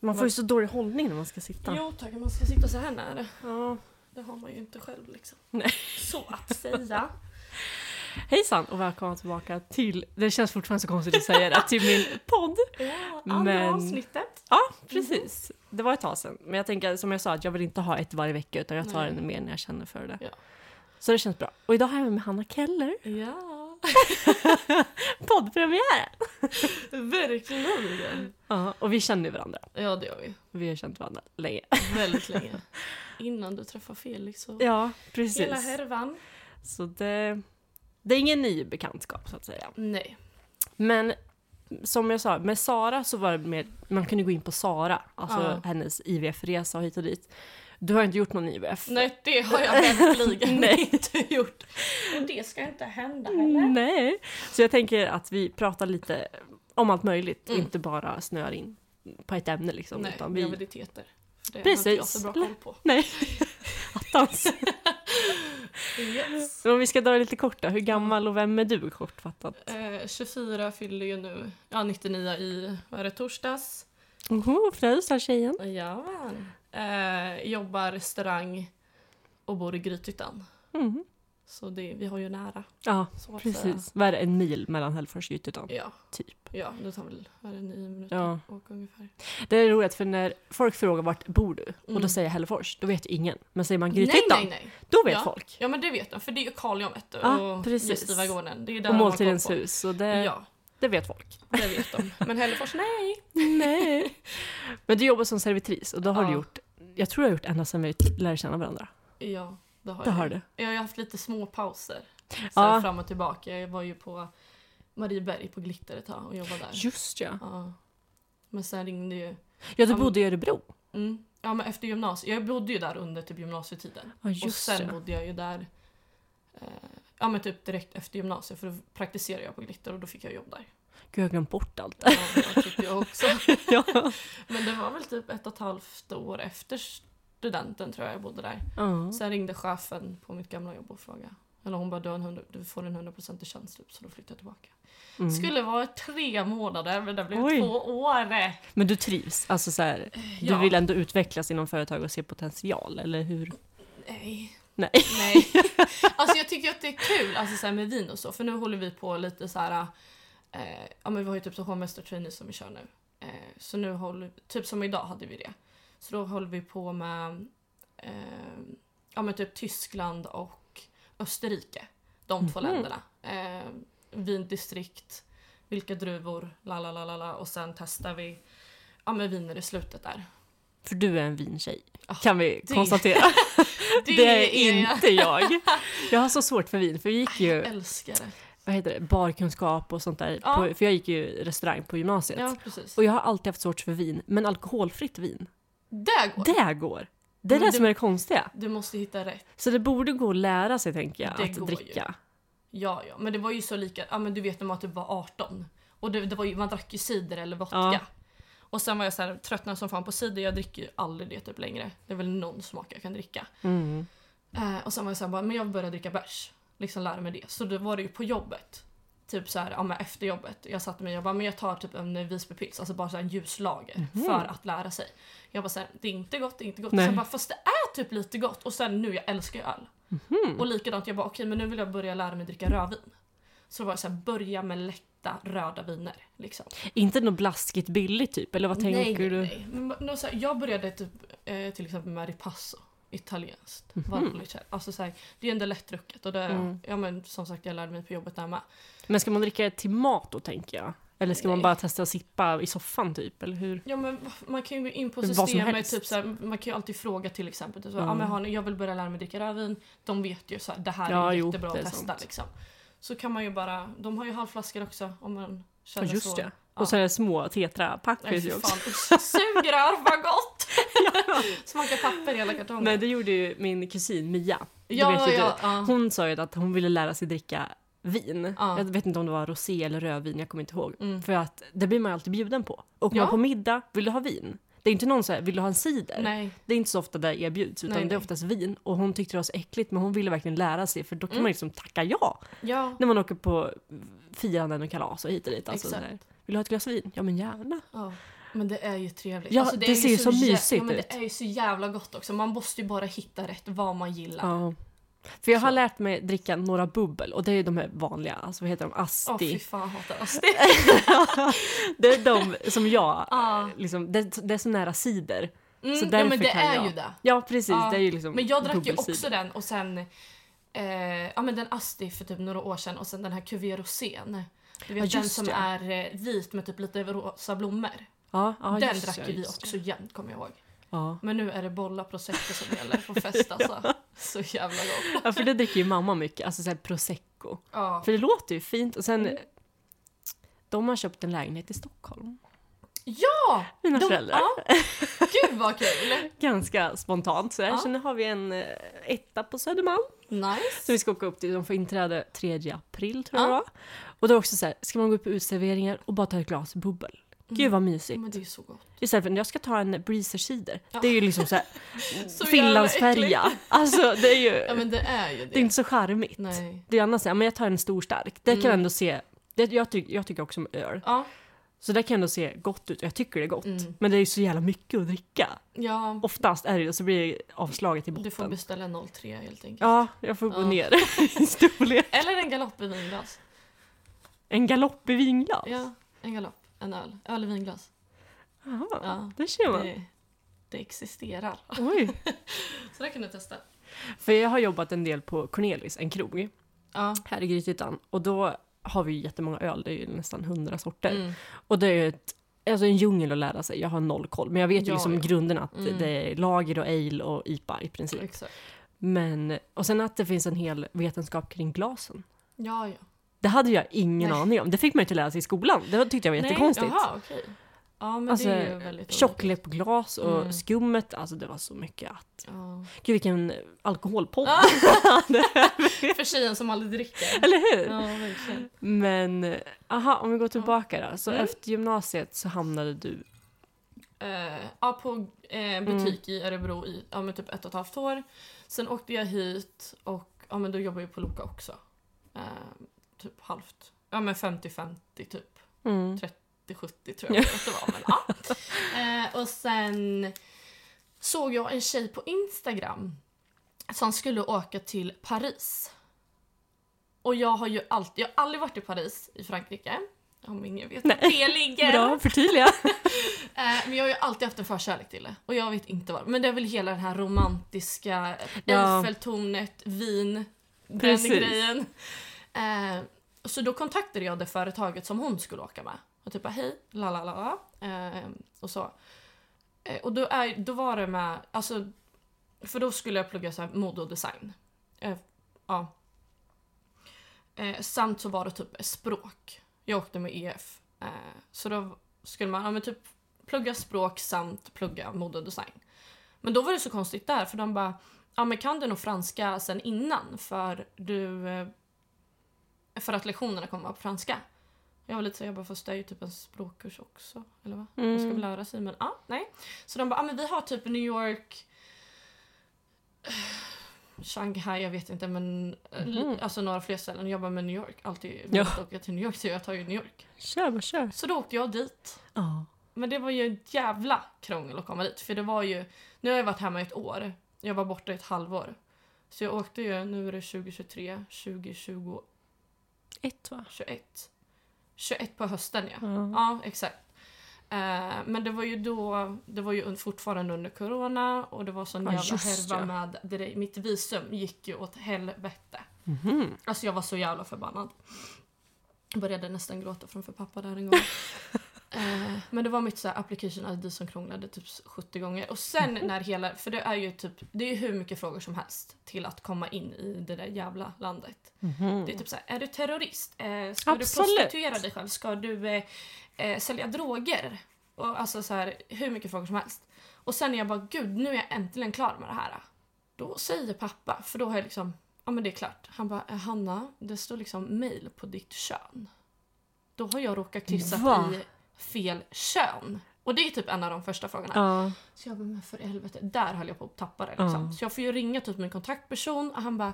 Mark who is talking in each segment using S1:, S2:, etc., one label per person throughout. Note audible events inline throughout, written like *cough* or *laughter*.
S1: Man får ju så dålig hållning när man ska sitta.
S2: Jo tack, man ska sitta så här nära.
S1: Ja.
S2: Det har man ju inte själv liksom.
S1: Nej.
S2: Så att *laughs* säga.
S1: Hejsan och välkomna tillbaka till, det känns fortfarande så konstigt att säga det, till min *laughs* podd.
S2: Ja, andra
S1: Men-
S2: avsnittet.
S1: Ja, precis. Det var ett tag sedan. Men jag tänker, som jag sa, att jag vill inte ha ett varje vecka utan jag tar
S2: Nej.
S1: en mer när jag känner för det.
S2: Ja.
S1: Så det känns bra. Och idag har jag med mig Hanna *laughs* Keller,
S2: Ja,
S1: poddpremiär!
S2: *laughs* verkligen.
S1: Ja, och vi känner ju varandra.
S2: Ja, det gör vi.
S1: Vi har känt varandra länge.
S2: Väldigt länge. *laughs* Innan du träffar Felix och
S1: Ja, precis.
S2: hela härvan.
S1: Så det, det är ingen ny bekantskap så att säga.
S2: Nej.
S1: Men som jag sa, med Sara så var det mer, man kunde gå in på Sara, alltså
S2: Ja.
S1: hennes IVF-resa och hit och dit. Du har inte gjort någon IVF?
S2: Nej, det har jag *laughs* verkligen
S1: Nej.
S2: inte gjort. Och det ska inte hända heller.
S1: Nej. Så jag tänker att vi pratar lite om allt möjligt,
S2: Mm.
S1: inte bara snöar in på ett ämne liksom.
S2: Nej,
S1: utan vi...
S2: graviditeter. För det har inte jag
S1: Precis.
S2: så bra koll på.
S1: Nej. Attans.
S2: Yes.
S1: *laughs* Men om vi ska dra det lite korta, hur gammal och vem är du kortfattat?
S2: Eh, 24 fyller ju nu, ja 99 i, vad är det, torsdags?
S1: Oho, frös här tjejen.
S2: Jajamän. Eh, jobbar restaurang och bor i Grythyttan.
S1: Mm.
S2: Så det, vi har ju nära.
S1: Ja,
S2: Så att säga.
S1: precis. Vad är det, en mil mellan Hällefors och Grythyttan?
S2: Ja,
S1: Typ.
S2: ja, det tar väl vad är det, nio minuter
S1: Ja.
S2: att åka ungefär.
S1: Det är roligt för när folk frågar vart bor du och då
S2: Mm.
S1: säger jag Hällefors, då vet ju ingen. Men säger man
S2: Nej,
S1: Grythyttan,
S2: nej, nej.
S1: då vet
S2: Ja.
S1: folk.
S2: Ja men det vet de, för det är ju Karlholm vet du,
S1: Ja,
S2: och
S1: Ah, precis.
S2: Gästivagården. Det är där
S1: Och
S2: de har
S1: Måltidens
S2: koll på.
S1: hus, Eh. så det,
S2: Ja,
S1: det vet folk.
S2: det vet de. Men Hällefors, nej.
S1: Nej. *laughs* Men du jobbar som servitris och då har
S2: Ja.
S1: du gjort, jag tror du har gjort ända sedan vi lärde känna varandra.
S2: Ja, det har
S1: Det
S2: jag.
S1: har du.
S2: Jag har ju haft lite små pauser. Så
S1: Ja.
S2: här fram och tillbaka. Jag var ju på Marieberg på Glitter ett tag och jobbade där.
S1: Just ja.
S2: Ja. Men sen ringde ju...
S1: Ja, du
S2: Ja, men-
S1: bodde i Örebro.
S2: Mm. Ja men efter gymnasiet. Jag bodde ju där under typ gymnasietiden.
S1: Ja,
S2: och
S1: just
S2: sen
S1: ja.
S2: bodde jag ju där eh, ja, men typ direkt efter gymnasiet för då praktiserade jag på Glitter och då fick jag jobb där.
S1: Gud, jag har glömt bort allt.
S2: Ja, det tyckte
S1: *laughs*
S2: jag också.
S1: ja.
S2: Men det var väl typ ett och ett halvt år efter studenten tror jag jag bodde där.
S1: Ja.
S2: Sen ringde chefen på mitt gamla jobb och frågade. Eller hon bara du, har en 100, du får en 100% tjänst typ, så då flyttade jag tillbaka.
S1: Mm.
S2: Skulle vara tre månader men det blev
S1: Oj.
S2: två år.
S1: Men du trivs? Alltså så här, du
S2: Ja.
S1: vill ändå utvecklas inom företag och se potential, eller hur?
S2: Nej.
S1: Nej. *laughs*
S2: Nej. Alltså jag tycker att det är kul alltså, så här med vin och så för nu håller vi på lite så här. Eh, ja men vi har ju typ så hovmästartrainee som vi kör nu. Eh, så nu håller, typ som idag hade vi det. Så då håller vi på med eh, ja men typ Tyskland och Österrike. De två
S1: Mhm.
S2: länderna. Eh, vindistrikt, vilka druvor, la la la la la och sen testar vi ja men viner i slutet där.
S1: För du är en vintjej,
S2: Ja,
S1: kan vi
S2: det- *laughs*
S1: konstatera. Det, är inte jag. Jag har så svårt för vin, för vi gick
S2: Jag
S1: ju
S2: älskar det.
S1: vad heter det, barkunskap och sånt där.
S2: Ja.
S1: På, för jag gick ju restaurang på gymnasiet.
S2: Ja precis.
S1: Och jag har alltid haft svårt för vin, men alkoholfritt vin,
S2: Där går
S1: det går! Det är
S2: Men
S1: det
S2: det-
S1: som är det konstiga.
S2: Du måste hitta rätt.
S1: Så det borde gå att lära sig, tänker jag,
S2: Det
S1: att
S2: går ju.
S1: dricka.
S2: Ja, ja. Men det var ju så lika. Ja, men du vet när man typ var 18. Och det, det var ju, man drack ju cider eller vodka.
S1: Ja.
S2: Och sen var jag så här, tröttnade som fan på cider. Jag dricker ju aldrig det typ längre. Det är väl någon smak jag kan dricka.
S1: Mm.
S2: Eh, och sen var jag så här, bara, men jag började dricka bärs. Liksom lära mig det. Så då var det ju på jobbet. Typ så här, ja, men efter jobbet. Jag satte mig och bara, men jag tar typ en Visbypils. Alltså bara så här en ljuslager. För att lära sig. Jag bara så här, det är inte gott, det är inte gott.
S1: Nej.
S2: Sen bara, fast det är typ lite gott. Och sen nu, jag älskar ju öl. Och likadant, jag bara okej men nu vill jag börja lära mig dricka rödvin. Så det var så här, börja med lätta röda viner. Liksom.
S1: Inte något blaskigt billigt, typ? Eller vad tänker
S2: nej,
S1: du?
S2: nej, nej. Men, då så här, jag började typ, eh, till exempel med ripasso. Italienskt. Valpolicella. Alltså så här, det är ändå lättdrucket. Och det,
S1: Mhm. Mm.
S2: ja, men, som sagt, jag lärde mig på jobbet där med.
S1: Men ska man dricka det till mat då, tänker jag? Eller ska man
S2: Nej.
S1: bara testa att sippa i soffan, typ? Eller hur?
S2: Ja, men, man kan ju gå in på
S1: Vad som
S2: systemet.
S1: helst.
S2: Typ, så här, man kan ju alltid fråga till exempel. Typ, så,
S1: Mm.
S2: ja, men, har ni- jag vill börja lära mig dricka rödvin. De vet ju så här, det här
S1: Ja,
S2: är
S1: jo,
S2: jättebra
S1: det är
S2: att testa.
S1: sant.
S2: Liksom. Så kan man ju bara, de har ju halvflaskor också om man
S1: Ja,
S2: känner
S1: just
S2: så.
S1: det.
S2: Ja.
S1: Och sen är det små tetrapack
S2: Nej
S1: vet
S2: fy
S1: jag också.
S2: fan usch, suger öl,
S1: *laughs*
S2: vad gott! Smakar papper i hela kartongen.
S1: Men det gjorde ju min kusin Mia. Det
S2: ja,
S1: vet ju
S2: ja,
S1: du.
S2: ja.
S1: Hon sa ju att hon ville lära sig dricka vin.
S2: Ja.
S1: Jag vet inte om det var rosé eller rödvin, jag kommer inte ihåg.
S2: Mm.
S1: För att det blir man ju alltid bjuden på. Och om
S2: Ja.
S1: man på middag, vill du ha vin? Det är inte någon säger, vill du ha en cider?
S2: Nej,
S1: Det är inte så ofta det erbjuds, utan
S2: Nej,
S1: det är
S2: nej.
S1: oftast vin. Och hon tyckte det var så äckligt, men hon ville verkligen lära sig, för då
S2: Mm.
S1: kan man liksom tacka ja.
S2: ja.
S1: När man åker på firanden och kalas och hit och dit. Alltså,
S2: Exakt.
S1: sådär. Vill du ha ett glas vin? Ja, men gärna.
S2: ja. Men det är ju trevligt.
S1: Ja,
S2: alltså,
S1: det
S2: är
S1: ser ju så
S2: jä-
S1: mysigt
S2: ja, men
S1: ut.
S2: Det är ju så jävla gott också. Man måste ju bara hitta rätt vad man gillar.
S1: Ja. För jag har
S2: Så.
S1: lärt mig dricka några bubbel och det är ju de här vanliga, alltså vad heter de,
S2: Åh fy
S1: Asti.
S2: fan, jag hatar
S1: *laughs*
S2: asti.
S1: det är de som
S2: *laughs*
S1: jag,
S2: Ja.
S1: liksom, det, det är så nära cider.
S2: Mm,
S1: Så
S2: ja
S1: därför
S2: men det
S1: kan
S2: är
S1: jag.
S2: ju det.
S1: Ja precis,
S2: Ja,
S1: det är ju liksom
S2: Men jag drack ju
S1: bubbelcider.
S2: också den och sen eh, ja, men den Asti för typ några år sedan och sen den här Cuvée Rosén. Du vet
S1: Ja,
S2: den
S1: just
S2: som
S1: det.
S2: är eh, vit med typ lite rosa blommor.
S1: Ja, ja,
S2: den
S1: just
S2: drack
S1: det,
S2: ju vi
S1: just det.
S2: också jämt kommer jag ihåg.
S1: Ja.
S2: Men nu är det bolla prosecco som gäller
S1: *laughs*
S2: på fest alltså. Så jävla gott.
S1: ja, för det dricker ju mamma mycket, alltså såhär prosecco. Mm.
S2: Ja.
S1: För det låter ju fint och sen de har köpt en lägenhet i Stockholm.
S2: ja!
S1: Mina
S2: de-
S1: föräldrar.
S2: ja. Gud
S1: *laughs*
S2: vad kul!
S1: Ganska spontant sådär.
S2: Ja.
S1: Så nu har vi en eh, etta på Södermalm.
S2: Nice.
S1: Så vi ska åka upp till, de får inträde 3 april tror jag
S2: Ja.
S1: det var. Och då är det också så här, ska man gå upp på utserveringar och bara ta ett glas bubbel? Gud vad mysigt.
S2: Men det är ju så gott.
S1: Istället för att jag ska ta en breezer cider.
S2: Ja.
S1: Det är ju liksom så här,
S2: *laughs* Så jävla
S1: finlandsfärja.
S2: äckligt.
S1: Alltså det är ju,
S2: Ja men det är ju
S1: det är
S2: det.
S1: inte så charmigt.
S2: Nej.
S1: Det är ju annars så här, men jag tar en stor stark. Det kan
S2: Mm.
S1: jag ändå se, det, jag, ty, jag tycker också om öl.
S2: Ja.
S1: Så det kan jag ändå se gott ut och jag tycker det är gott.
S2: Mm.
S1: Men det är ju så jävla mycket att dricka.
S2: ja.
S1: Oftast är det ju, så blir det avslaget i
S2: Du får
S1: botten.
S2: beställa 03 helt enkelt.
S1: Ja, jag får gå
S2: Ja.
S1: ner *laughs* i storlek.
S2: Eller en galopp i vinglas.
S1: En galopp i vinglas.
S2: Ja, en galopp. En öl. Öl i vinglas.
S1: Jaha,
S2: Ja.
S1: det ser man.
S2: Det, det existerar.
S1: Oj.
S2: Så det kan du testa.
S1: För jag har jobbat en del på Cornelis, en krog,
S2: Ja.
S1: här i Grythyttan. Och då har vi ju jättemånga öl, det är ju nästan hundra sorter.
S2: Mm.
S1: Och det är ju ett, alltså en djungel att lära sig, jag har noll koll. Men jag vet ju
S2: Ja,
S1: liksom
S2: ja.
S1: grunderna att
S2: Mm.
S1: det är lager och ale och IPA i princip.
S2: Exakt.
S1: Men, och sen att det finns en hel vetenskap kring glasen.
S2: Ja, ja.
S1: Det hade jag ingen
S2: Nej.
S1: aning om. Det fick man ju inte lära sig i skolan. Det tyckte jag var jättekonstigt.
S2: Nej, jaha, okej. Ja, men
S1: Alltså,
S2: det är ju väldigt olika.
S1: Tjockläppglas och
S2: Mm.
S1: skummet, alltså det var så mycket att...
S2: Ja.
S1: Gud vilken alkoholpodd!
S2: Ah. För tjejen som aldrig
S1: *laughs*
S2: dricker.
S1: Eller hur?
S2: Ja, verkligen.
S1: *laughs* Men, eh, aha, om vi går tillbaka då. Så
S2: Mm.
S1: efter gymnasiet så hamnade du...
S2: Eh, ja, på en butik i Örebro i ja, men typ ett och ett halvt år. Sen åkte jag hit och ja, men då jobbade jag på Loka också. Eh, typ halvt. Ja, men 50-50 typ.
S1: Mm.
S2: 70 tror jag att det var. Men, ja. eh, och sen såg jag en tjej på Instagram som skulle åka till Paris. Och jag har ju alltid, jag har aldrig varit i Paris i Frankrike. Om ingen vet var det ligger.
S1: Bra, förtydliga!
S2: Eh, men jag har ju alltid haft en förkärlek till det. Och jag vet inte vad. Men det är väl hela den här romantiska
S1: Ja.
S2: Eiffeltornet, vin, den
S1: Precis.
S2: grejen. Eh, så då kontaktade jag det företaget som hon skulle åka med. Och typ bara, hej, la la la la. Eh, och så. Eh, och då, är, då var det med, alltså, för då skulle jag plugga så här mode och design. Eh, ja. Eh, samt så var det typ språk. Jag åkte med EF. Eh, så då skulle man ja, men typ plugga språk samt plugga mode och design. Men då var det så konstigt där för de bara ja men kan du nog franska sen innan för du eh, för att lektionerna kommer vara på franska. Jag var lite så jag bara fast det är ju typ en språkkurs också eller vad? Man
S1: *laughs*
S2: ska
S1: Mm.
S2: väl lära sig men ja nej. Så de bara ja men vi har typ New York eh, Shanghai, jag vet inte men eh, li-
S1: Mhm.
S2: alltså några fler ställen. Jag bara men New York, alltid
S1: Ja.
S2: ja. åka till New York så jag tar ju New York.
S1: Kör bara, kör!
S2: Så då åkte jag dit.
S1: Ja.
S2: Men det var ju ett jävla krångel att komma dit. För det var ju, nu har jag varit hemma i ett år. Jag var borta i ett halvår. Så jag åkte ju, nu är det 2023, 2020,
S1: Ett va?
S2: 21. 21 på hösten ja.
S1: Ja.
S2: Ja, exakt. Eh, men det var ju då, det var ju un- fortfarande under corona och det var sån
S1: Ja,
S2: jävla
S1: just
S2: härva
S1: ja.
S2: med, det, där- mitt visum gick ju åt helvete.
S1: Mhm.
S2: Alltså jag var så jävla förbannad. Jag började nästan gråta framför pappa där en gång. eh, men det var mitt så här application ID som krånglade typ 70 gånger. Och sen när hela, för det är ju typ, det är ju hur mycket frågor som helst till att komma in i det där jävla landet.
S1: Mhm.
S2: Det är typ så här, är du terrorist? Eh, ska
S1: Absolut.
S2: du prostituera dig själv? Ska du eh, eh, sälja droger? Och alltså så här, hur mycket frågor som helst. Och sen när jag bara, gud nu är jag äntligen klar med det här. Då säger pappa, för då har jag liksom, ja men det är klart. Han bara, eh, Hanna, det står liksom mail på ditt kön. Då har jag råkat kryssa
S1: Va?
S2: i fel kön. Och det är typ en av de första frågorna.
S1: Ja.
S2: Så jag bara, men för i helvete. Där höll jag på att tappa det. Liksom.
S1: Ja.
S2: Så jag får ju ringa typ min kontaktperson och han bara,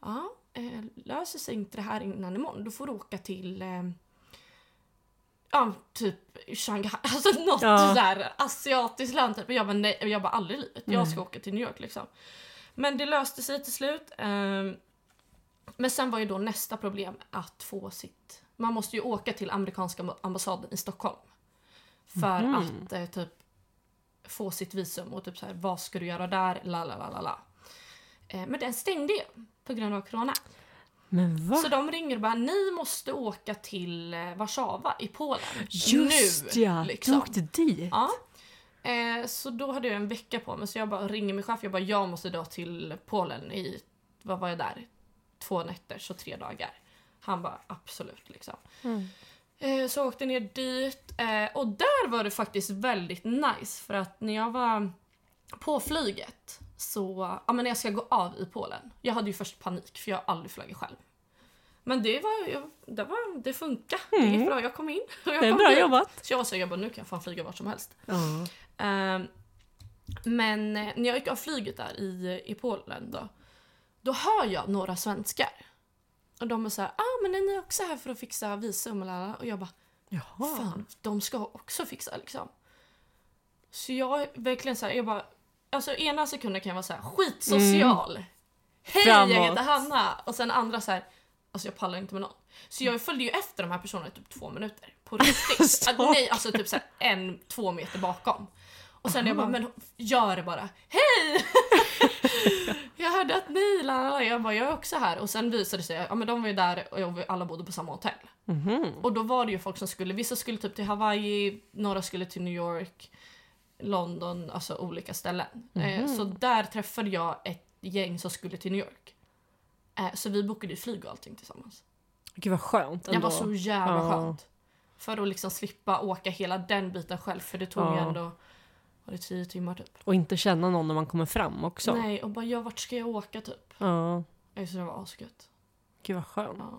S2: ja, eh, löser sig inte det här innan imorgon, då får du åka till eh, ja, typ Shanghai, *laughs* alltså något
S1: Ja.
S2: sådär asiatiskt land typ. Och jag bara nej, jag bara aldrig i livet. Jag
S1: Nej.
S2: ska åka till New York liksom. Men det löste sig till slut. ehm. Men sen var ju då nästa problem att få sitt, man måste ju åka till amerikanska amb- ambassaden i Stockholm. För
S1: Mhm.
S2: att eh, typ få sitt visum och typ så här, vad ska du göra där, la la la la la. Eh, Men den stängde ju på grund av corona.
S1: Men va?
S2: Så de ringer och bara, ni måste åka till eh, Warszawa i Polen.
S1: Just
S2: nu,
S1: ja,
S2: liksom.
S1: du åkte dit.
S2: Ja. Eh, så då hade jag en vecka på mig så jag bara ringer min chef. Jag bara, jag måste då till Polen i, vad var jag där? Två nätter, så tre dagar. Han bara, absolut liksom.
S1: Mm.
S2: Eh, så jag åkte ner dit eh, och där var det faktiskt väldigt nice för att när jag var på flyget så, ja men när jag ska gå av i Polen. Jag hade ju först panik för jag har aldrig flugit själv. Men det var, jag- det var, det funkar. Det gick
S1: Mm.
S2: bra, jag kom in. *laughs* Och jag
S1: Det är
S2: kom
S1: bra
S2: dit.
S1: jobbat.
S2: Så jag var så här, jag bara, nu kan jag fan flyga vart som helst.
S1: Ja.
S2: Ehm, men eh, när jag gick av flyget där i, eh, i Polen då, då hör jag några svenskar. Och de är så här, ah men är ni också här för att fixa visum? Och lalala?" Och jag bara,
S1: Jaha.
S2: fan, de ska också fixa liksom. Så jag är verkligen så här, jag bara, alltså ena sekunden kan jag vara så här, skitsocial. Hej, jag
S1: Mm. Framåt.
S2: heter Hanna! Och sen andra så här, alltså jag pallar inte med någon. Så jag följde ju efter de här personerna i typ två minuter.
S1: *laughs*
S2: På riktigt. Att, nej, alltså typ så här en, två meter bakom. Och sen jag bara, men gör det bara. Hej! *laughs* jag hörde att ni, la, la, la. jag bara, jag är också här. Och sen visade det sig, ja men de var ju där och jag- alla bodde på samma hotell.
S1: Mhm.
S2: Och då var det ju folk som skulle, vissa skulle typ till Hawaii, några skulle till New York, London, alltså olika ställen.
S1: Mhm.
S2: Eh, så där träffade jag ett gäng som skulle till New York. Eh, så vi bokade ju flyg och allting tillsammans.
S1: Gud vad skönt
S2: Det
S1: ändå.
S2: var så jävla
S1: Ja.
S2: skönt. För att liksom slippa åka hela den biten själv för det tog ju
S1: Ja.
S2: ändå, var det tio timmar typ?
S1: Och inte känna någon när man kommer fram också.
S2: Nej, och bara ja, vart ska jag åka typ?
S1: Ja.
S2: Eh, Så det var asgött.
S1: Gud vad skönt. Mm.
S2: Ja.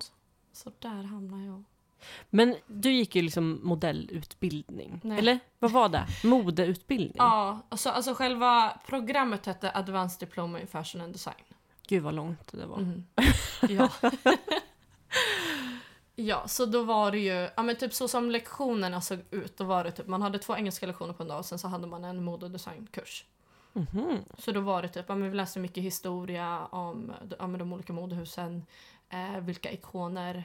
S2: Så där hamnade jag.
S1: Men du gick ju liksom modellutbildning.
S2: Nej.
S1: Eller vad var det? Modeutbildning?
S2: Ja, alltså, alltså själva programmet hette Advanced Diploma in Fashion and Design.
S1: Gud vad långt det var. *laughs*
S2: Mm. Ja. ja, så då var det ju, ja men typ så som lektionerna såg ut, då var det typ, man hade två engelska lektioner på en dag och sen så hade man en modedesignkurs.
S1: Mhm.
S2: Så då var det typ, ja men vi läste mycket historia om ja, men de olika modehusen, eh, vilka ikoner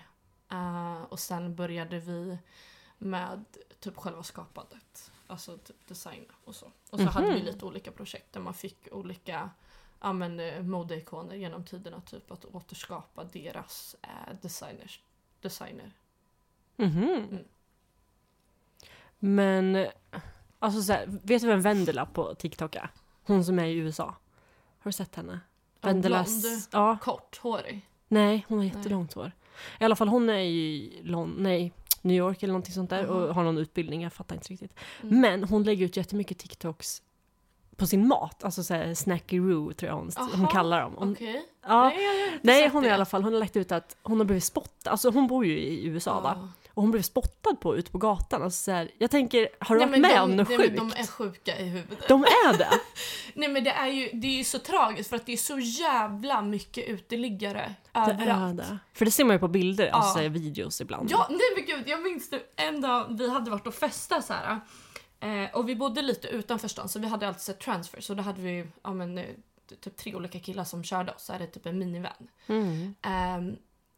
S2: eh, och sen började vi med typ själva skapandet, alltså typ design och så. Och så hade vi
S1: Mhm.
S2: lite olika projekt där man fick olika ja, men, eh, modeikoner genom tiderna, typ att återskapa deras eh, designers, designer.
S1: Mhm.
S2: Mm.
S1: Men, alltså så här, vet du vem Vendela på TikTok är? Hon som är i USA. Har du sett henne?
S2: Ja, blond.
S1: Vendelas... Ja.
S2: Korthårig.
S1: Nej, hon har jättelångt hår. I alla fall hon är i Lon- nej, New York eller någonting sånt där
S2: Mhm.
S1: och har någon utbildning, jag fattar inte riktigt.
S2: Mm.
S1: Men hon lägger ut jättemycket TikToks på sin mat, alltså såhär snackeroo tror jag hon, hon
S2: Aha,
S1: kallar dem. Hon,
S2: Okej.
S1: ja,
S2: Nej, jag har inte
S1: nej,
S2: sett
S1: hon är i
S2: det.
S1: alla fall, hon har lagt ut att hon har blivit spottad, alltså hon bor ju i USA va?
S2: Ja.
S1: Och hon blev spottad på ute på gatan. Alltså så här, jag tänker, har du
S2: Nej,
S1: varit
S2: men
S1: med
S2: de-
S1: om något
S2: nej,
S1: sjukt?
S2: men
S1: De,
S2: De är sjuka i huvudet.
S1: är
S2: *laughs*
S1: det!
S2: Nej men det är ju, det är ju så tragiskt för att det är så jävla mycket uteliggare
S1: det är
S2: överallt.
S1: det. För det ser man ju på bilder,
S2: Ja.
S1: alltså så här, videos ibland.
S2: Ja, nej men gud, jag minns det en dag vi hade varit och festat så här. Eh, och vi bodde lite utanför stan så vi hade alltid sett transfer så då hade vi ja, men, eh, typ tre olika killar som körde oss, så här, typ en minivan.
S1: Mm.
S2: Ehm,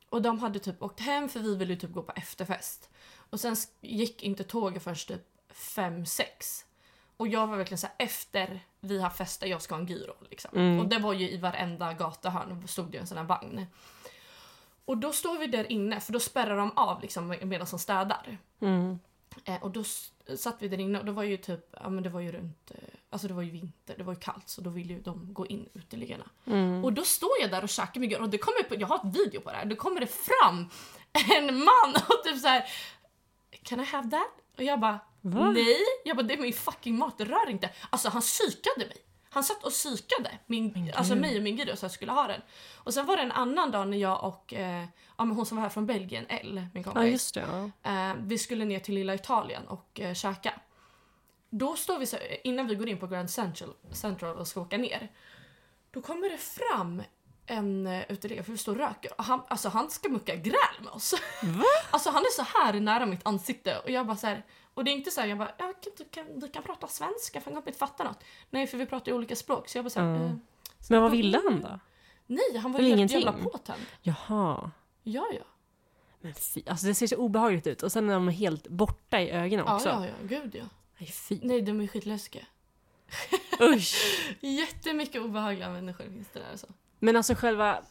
S2: och de hade typ åkt hem för vi ville ju typ gå på efterfest. Och sen sk- gick inte tåget förrän typ fem sex Och jag var verkligen så här efter vi har festat, jag ska ha en gyro. Liksom.
S1: Mm.
S2: Och det var ju i varenda gatuhörn stod det en sån här vagn. Och då står vi där inne för då spärrar de av liksom medan de städar.
S1: Mm.
S2: Eh, och då s- satt vi där inne och då var ju typ, ja men det var ju runt, eh, alltså det var ju vinter, det var ju kallt så då ville ju de gå in uteliggarna.
S1: Mm.
S2: Och då står jag där och käkar med och det kommer, på- jag har ett video på det här, då kommer det fram en man och typ så här. Can I have that? Och jag bara
S1: Va?
S2: nej, jag bara det är min fucking mat, det rör inte. Alltså han psykade mig. Han satt och psykade min, alltså mig och min gud så jag skulle ha den. Och sen var det en annan dag när jag och eh, ja, men hon som var här från Belgien, L, min
S1: Ja,
S2: kompis.
S1: just det. Ja.
S2: Eh, vi skulle ner till lilla Italien och eh, käka. Då står vi så, innan vi går in på Grand Central, Central och ska åka ner. Då kommer det fram eh, en eh, uteliggare för vi står och röker och han, alltså, han ska mucka gräl med oss.
S1: Va?
S2: *laughs* Alltså han är så här nära mitt ansikte och jag bara så här, och det är inte så här, jag bara, jag kan, du, kan, du kan prata svenska för han kan inte fatta något. Nej för vi pratar ju olika språk så jag bara så här,
S1: Ja.
S2: eh,
S1: Men vad ville han då?
S2: Nej han var
S1: Eller
S2: helt
S1: ingenting?
S2: jävla påtänd.
S1: Jaha.
S2: Ja ja.
S1: Men fy, alltså det ser så obehagligt ut. Och sen är de helt borta i ögonen
S2: Ja,
S1: också.
S2: ja ja, gud ja.
S1: Nej, fy.
S2: Nej de är skitläskiga.
S1: Usch.
S2: Jättemycket obehagliga människor finns det där alltså.
S1: Men alltså själva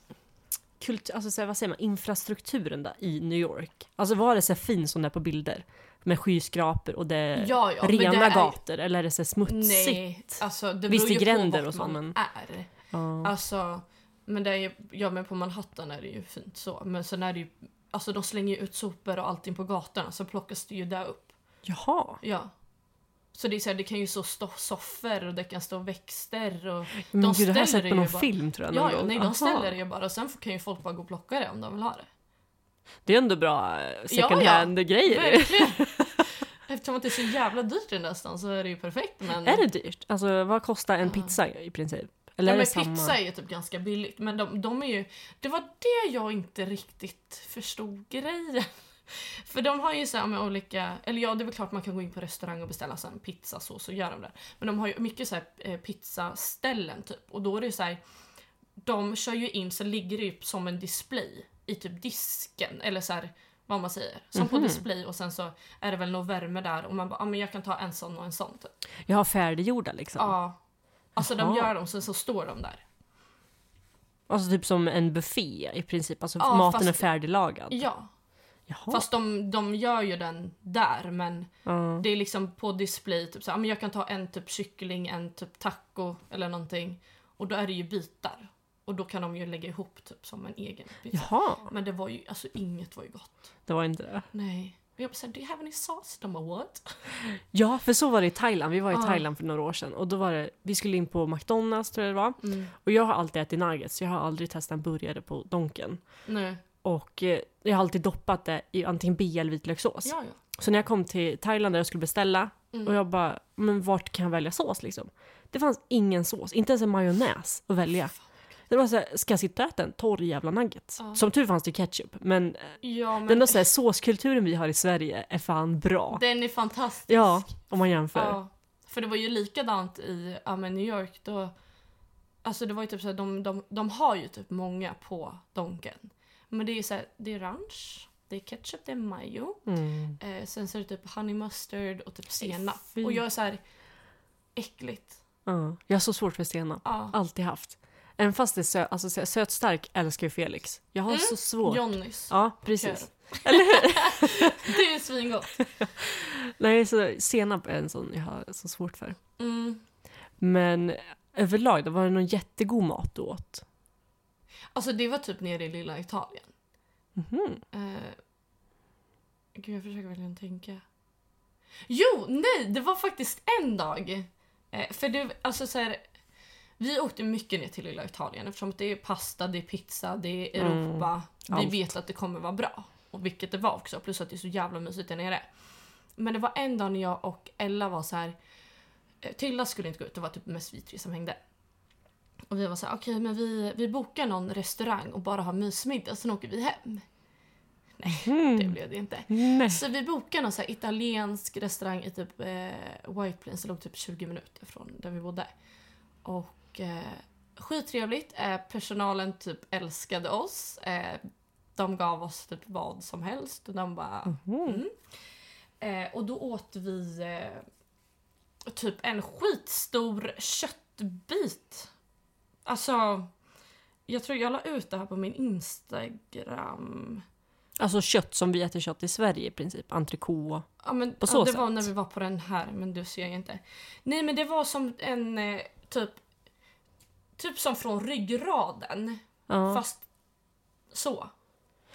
S1: kultur, alltså så här, vad säger man, infrastrukturen där i New York. Alltså var det så här fin som det är på bilder? Med skyskrapor och det är
S2: Ja ja. men
S1: Eh, rena
S2: det är-
S1: gator eller är det så här smutsigt?
S2: Nej, alltså det
S1: Visst,
S2: beror ju
S1: i gränder
S2: på
S1: och
S2: vart
S1: så,
S2: man
S1: men-
S2: är.
S1: Ja.
S2: Alltså, men det är ju, ja men på Manhattan är det ju fint så. Men sen är det ju, alltså de slänger ju ut sopor och allting på gatorna så plockas det ju där upp.
S1: Jaha.
S2: Ja. Så det är så här, det kan ju stå, stå soffor och det kan stå växter och...
S1: Men
S2: De
S1: gud, det här har jag
S2: ställer
S1: sett
S2: det
S1: på
S2: ju
S1: någon
S2: bara.
S1: film tror jag. någon
S2: Ja, ja,
S1: gång.
S2: nej
S1: Aha.
S2: de ställer det ju bara och sen kan ju folk bara gå och plocka det om de vill ha det.
S1: Det är ändå bra eh, second
S2: Ja, ja.
S1: hand-grejer.
S2: Verkligen!
S1: *laughs*
S2: Eftersom att det är så jävla dyrt i den där stan så är det ju perfekt men...
S1: Är det dyrt? Alltså vad kostar en
S2: Ja.
S1: pizza i princip? Eller
S2: Ja,
S1: är
S2: men
S1: det
S2: pizza
S1: samma?
S2: är ju typ ganska billigt men de, de är ju... Det var det jag inte riktigt förstod grejen. *laughs* För de har ju så här med olika... Eller ja, det är väl klart man kan gå in på restaurang och beställa så här en pizza så, så gör de det. Men de har ju mycket så här eh, pizzaställen typ och då är det ju så här... De kör ju in så ligger det ju som en display i typ disken eller så här vad man säger. Som på
S1: Mhm.
S2: display och sen så är det väl någon värme där och man bara ah, men jag kan ta en sån och en sån typ.
S1: Jag har färdiggjorda liksom.
S2: Ja. Alltså de
S1: Jaha.
S2: gör dem sen så står de där.
S1: Alltså typ som en buffé i princip. Alltså
S2: Ja,
S1: maten
S2: fast-
S1: är färdiglagad.
S2: Ja,
S1: Jaha.
S2: fast de, de gör ju den där men
S1: Ja.
S2: det är liksom på display typ så här, "Ah, men jag kan ta en typ kyckling, en typ taco eller någonting och då är det ju bitar och då kan de ju lägga ihop typ som en egen pizza.
S1: Jaha,
S2: Men det var ju, alltså inget var ju gott.
S1: det var inte det.
S2: Nej. Och jag bara såhär, do you have any sauce? De bara what?
S1: Ja, för så var det i Thailand. Vi var i
S2: Ja.
S1: Thailand för några år sedan och då var det, vi skulle in på McDonalds tror jag det var.
S2: Mm.
S1: Och jag har alltid ätit nuggets, så jag har aldrig testat en burgare på Donken.
S2: *laughs* Nej.
S1: Och eh, jag har alltid doppat det i antingen bea eller vitlökssås.
S2: Ja, ja.
S1: Så när jag kom till Thailand där jag skulle beställa
S2: Mm.
S1: och jag bara, men vart kan jag välja sås liksom? Det fanns ingen sås, inte ens en majonnäs att välja. Det var såhär, ska jag sitta och äta en torr jävla nugget?
S2: Ja.
S1: Som tur fanns det ketchup, men, eh,
S2: Ja men
S1: den där så här, såskulturen vi har i Sverige är fan bra.
S2: den är fantastisk.
S1: Ja, om man jämför.
S2: Ja, för det var ju likadant i ja, men New York. Då, alltså det var ju typ så här, de, de, de har ju typ många på Donken. Men det är ju så här, det är ranch, det är ketchup, det är majo.
S1: Mm.
S2: Eh, sen så är det typ honey mustard och typ senap.
S1: fy.
S2: Och jag är så här, äckligt.
S1: Ja. Jag har så svårt för senap,
S2: Ja.
S1: alltid haft. Även fast det är sö- alltså, så här, söt stark älskar ju Felix. Jag har
S2: Mm.
S1: så svårt.
S2: Johnnys.
S1: Ja, precis.
S2: *laughs* Det är svingott.
S1: Nej, så senap är en sån jag har så svårt för.
S2: Mm.
S1: Men överlag, då var det någon jättegod mat du åt.
S2: Alltså det var typ nere i lilla Italien.
S1: Mhm.
S2: Eh, gud, jag försöker verkligen tänka. Jo, nej, det var faktiskt en dag. Eh, för det, alltså så här, vi åkte mycket ner till lilla Italien eftersom att det är pasta, det är pizza, det är
S1: Mm,
S2: Europa. Vi
S1: allt.
S2: vet att det kommer vara bra. Och vilket det var också, plus att det är så jävla mysigt där nere. Men det var en dag när jag och Ella var så här. eh, Tilla skulle inte gå ut, det var typ mest vi tre som hängde. Och vi var så här, okej men vi, vi bokar någon restaurang och bara har mysmiddag, sen åker vi hem. Det
S1: Mm.
S2: blev det inte.
S1: Nej.
S2: Så vi bokade någon så här italiensk restaurang i typ eh, White Plains, det låg typ 20 minuter från där vi bodde. Och eh, skittrevligt, eh, personalen typ älskade oss. Eh, de gav oss typ vad som helst och de bara...
S1: Mhm.
S2: Eh, och då åt vi eh, typ en skitstor köttbit. Alltså, jag tror jag la ut det här på min Instagram.
S1: Alltså kött som vi äter kött i Sverige i princip. Entrecote.
S2: Ja, men,
S1: På
S2: ja,
S1: så
S2: det var
S1: sätt.
S2: när vi var på den här, men du ser jag inte. Nej, men det var som en eh, typ... Typ som från ryggraden,
S1: Ja.
S2: fast så.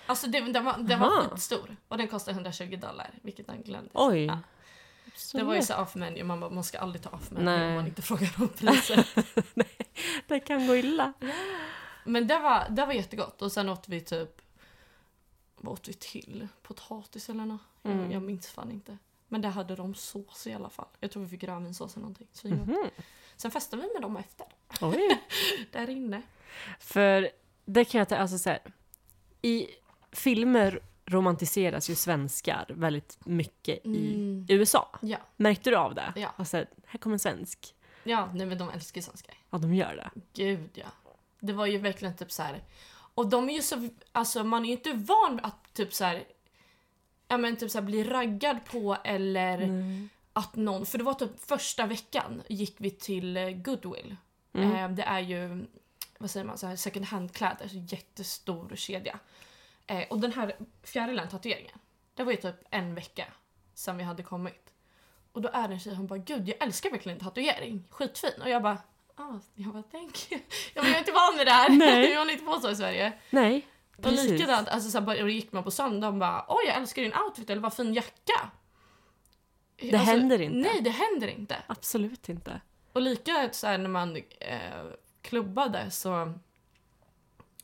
S2: Alltså det, den var, den var
S1: Aha.
S2: skitstor och den kostade 120 dollar, vilket han glömde.
S1: Oj.
S2: Ja.
S1: Så
S2: Det var ju så off menu, man, bara, man ska aldrig ta off menu
S1: Nej.
S2: om man inte frågar om *laughs* priset.
S1: det kan gå illa.
S2: men det var, det var jättegott och sen åt vi typ... Vad åt vi till? Potatis eller något?
S1: Mm.
S2: Jag, jag minns fan inte. Men där hade de sås i alla fall. Jag tror vi fick rödvinssås eller någonting. Svingott.
S1: Mhm.
S2: Sen festade vi med dem efter.
S1: Oj.
S2: Där inne.
S1: För det kan jag ta, alltså så här, i filmer romantiseras ju svenskar väldigt mycket i
S2: Mm.
S1: USA.
S2: Ja.
S1: Märkte du av det?
S2: Ja.
S1: Alltså, här kommer en svensk.
S2: Ja, nej men de älskar ju svenskar.
S1: Ja, de gör det.
S2: Gud ja. Det var ju verkligen typ så här. Och de är ju så, alltså man är ju inte van vid att typ så här, ja men typ så här bli raggad på eller att någon, för det var typ första veckan gick vi till eh, Goodwill.
S1: Mm.
S2: Eh, det är ju, vad säger man, så här second hand-kläder, så jättestor kedja. Eh, och den här fjärilen, tatueringen, det var ju typ en vecka sedan vi hade kommit. Och då är det en tjej, hon bara gud jag älskar verkligen tatuering, skitfin. Och jag bara, ah, jag bara thank you. *laughs* Jag, bara, jag är inte van vid det här,
S1: Nej.
S2: *laughs* vi håller inte på så i Sverige.
S1: Nej,
S2: Och
S1: precis.
S2: likadant, alltså, så här, bara, och då gick man på söndag och bara oj jag älskar din outfit eller vad fin jacka. Det
S1: händer inte.
S2: Nej det händer inte.
S1: Absolut inte.
S2: Och likadant så här när man eh, klubbade så...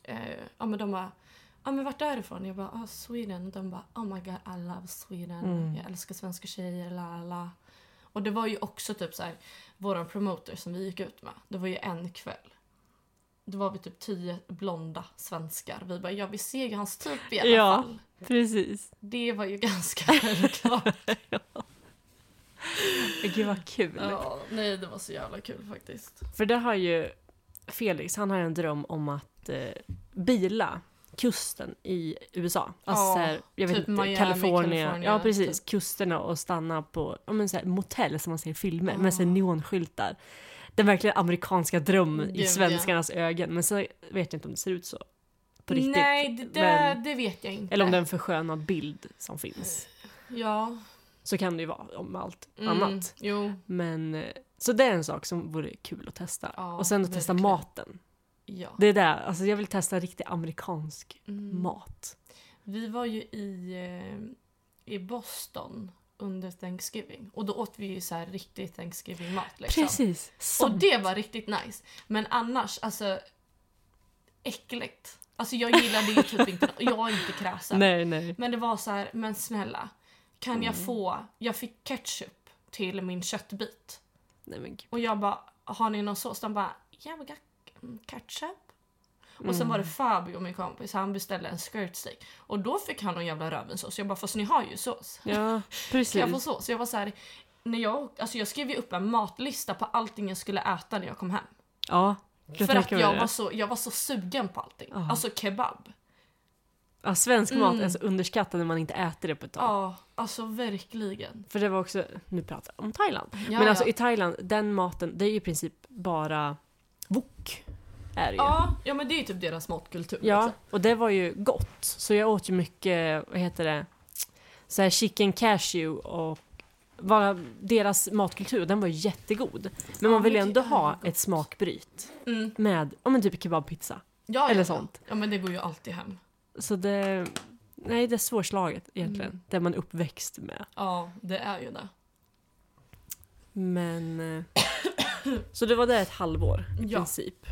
S2: Eh, ja men de bara... Ja men vart är du ifrån? Jag bara ah, Sweden. Och de bara oh my god I love Sweden.
S1: Mm.
S2: Jag älskar svenska tjejer. La, la, la. Och det var ju också typ så här våran promoter som vi gick ut med. Det var ju en kväll. Då var vi typ tio blonda svenskar. Vi bara ja vi ser ju hans typ i alla
S1: Ja.
S2: fall.
S1: Precis.
S2: Det var ju ganska självklart.
S1: Gud vad kul.
S2: ja, nej det var så jävla kul faktiskt.
S1: För det har ju Felix, han har ju en dröm om att eh, bila kusten i USA. Alltså
S2: Ja,
S1: så här, jag vet
S2: typ
S1: inte,
S2: Miami,
S1: Kalifornien.
S2: California, typ.
S1: ja precis, kusterna och stanna på ja, men så här, motell som man ser i filmer med så här, neonskyltar. Den verkligen amerikanska drömmen
S2: Mm, Gud,
S1: i
S2: ja.
S1: svenskarnas ögon. Men så vet jag inte om det ser ut så på riktigt.
S2: Nej, det, det,
S1: Men,
S2: det vet jag inte.
S1: eller om det är en förskönad bild som finns.
S2: Ja.
S1: Så kan det ju vara om allt
S2: mm,
S1: annat.
S2: Jo.
S1: Men, eh, så det är en sak som vore kul att testa.
S2: Ja,
S1: och sen att testa
S2: verkligen.
S1: maten.
S2: Ja.
S1: Det är där, alltså jag vill testa riktig amerikansk
S2: Mm.
S1: mat.
S2: Vi var ju i, eh, i Boston under Thanksgiving och då åt vi ju så här riktig Thanksgiving-mat. Liksom.
S1: Precis! Så,
S2: Och det var riktigt nice. Men annars, alltså äckligt. Alltså jag gillade ju
S1: *laughs*
S2: typ inte, jag är inte kräsen.
S1: nej, Mm. nej.
S2: Men det var så här, men snälla. Kan jag få, jag fick ketchup till min köttbit.
S1: nej men gud.
S2: Och jag bara, har ni någon sås? De bara, yeah we got mm, ketchup.
S1: Mm.
S2: Och sen var det Fabio, min kompis, han beställde en skirt steak. Och då fick han någon jävla rödvinssås. Jag bara, fast ni har ju sås.
S1: Ja, precis.
S2: Kan jag få sås? Jag var så här, när jag, alltså jag skrev ju upp en matlista på allting jag skulle äta när jag kom hem.
S1: Ja, jag
S2: För att
S1: tänker mig
S2: jag
S1: det.
S2: var, så, jag var så sugen på allting.
S1: Ja.
S2: Alltså kebab.
S1: ja, svensk mat
S2: Mm.
S1: är så underskattad när man inte äter det på ett tag.
S2: Ja, alltså verkligen.
S1: För det var också, nu pratar jag om Thailand.
S2: Ja,
S1: men alltså
S2: ja.
S1: i Thailand, den maten, det är ju i princip bara wok. Är det ju.
S2: Ja, ja, men det är ju typ deras matkultur.
S1: Ja,
S2: liksom.
S1: och det var ju gott. Så jag åt ju mycket, vad heter det, så här chicken cashew och bara deras matkultur, den var ju jättegod. Men
S2: Ja,
S1: man vill ju
S2: men det
S1: ändå
S2: är
S1: ha
S2: gott.
S1: ett smakbryt
S2: Mm.
S1: med, ja men typ kebabpizza.
S2: Ja, ja,
S1: Eller
S2: ja.
S1: sånt.
S2: Ja, men det går ju alltid hem.
S1: Så det, nej det är svårslaget egentligen,
S2: Mm.
S1: det man är uppväxt med.
S2: Ja, det är ju det.
S1: Men, eh, så det var där ett halvår i
S2: Ja.
S1: princip.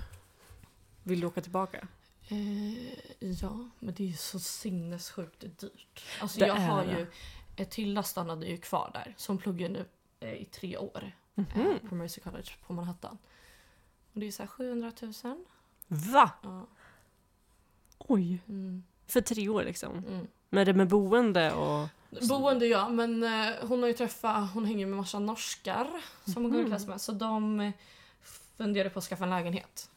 S1: Vill du åka tillbaka?
S2: Eh, ja, men det är ju så sinnessjukt dyrt. Alltså
S1: Det
S2: jag
S1: är
S2: har
S1: det.
S2: ju... eh, Tilda stannade ju kvar där, så hon pluggar nu eh, i tre år
S1: Mm.
S2: eh, på Mercy College på Manhattan. Och det är så här 700 000.
S1: Va?
S2: Ja.
S1: Oj!
S2: Mm,
S1: För tre år liksom.
S2: mm.
S1: Men det med boende och...
S2: Boende ja, men eh, hon har ju träffat, hon hänger med massa norskar som hon går i
S1: Mm.
S2: klass med. Så de eh, funderar på att skaffa en lägenhet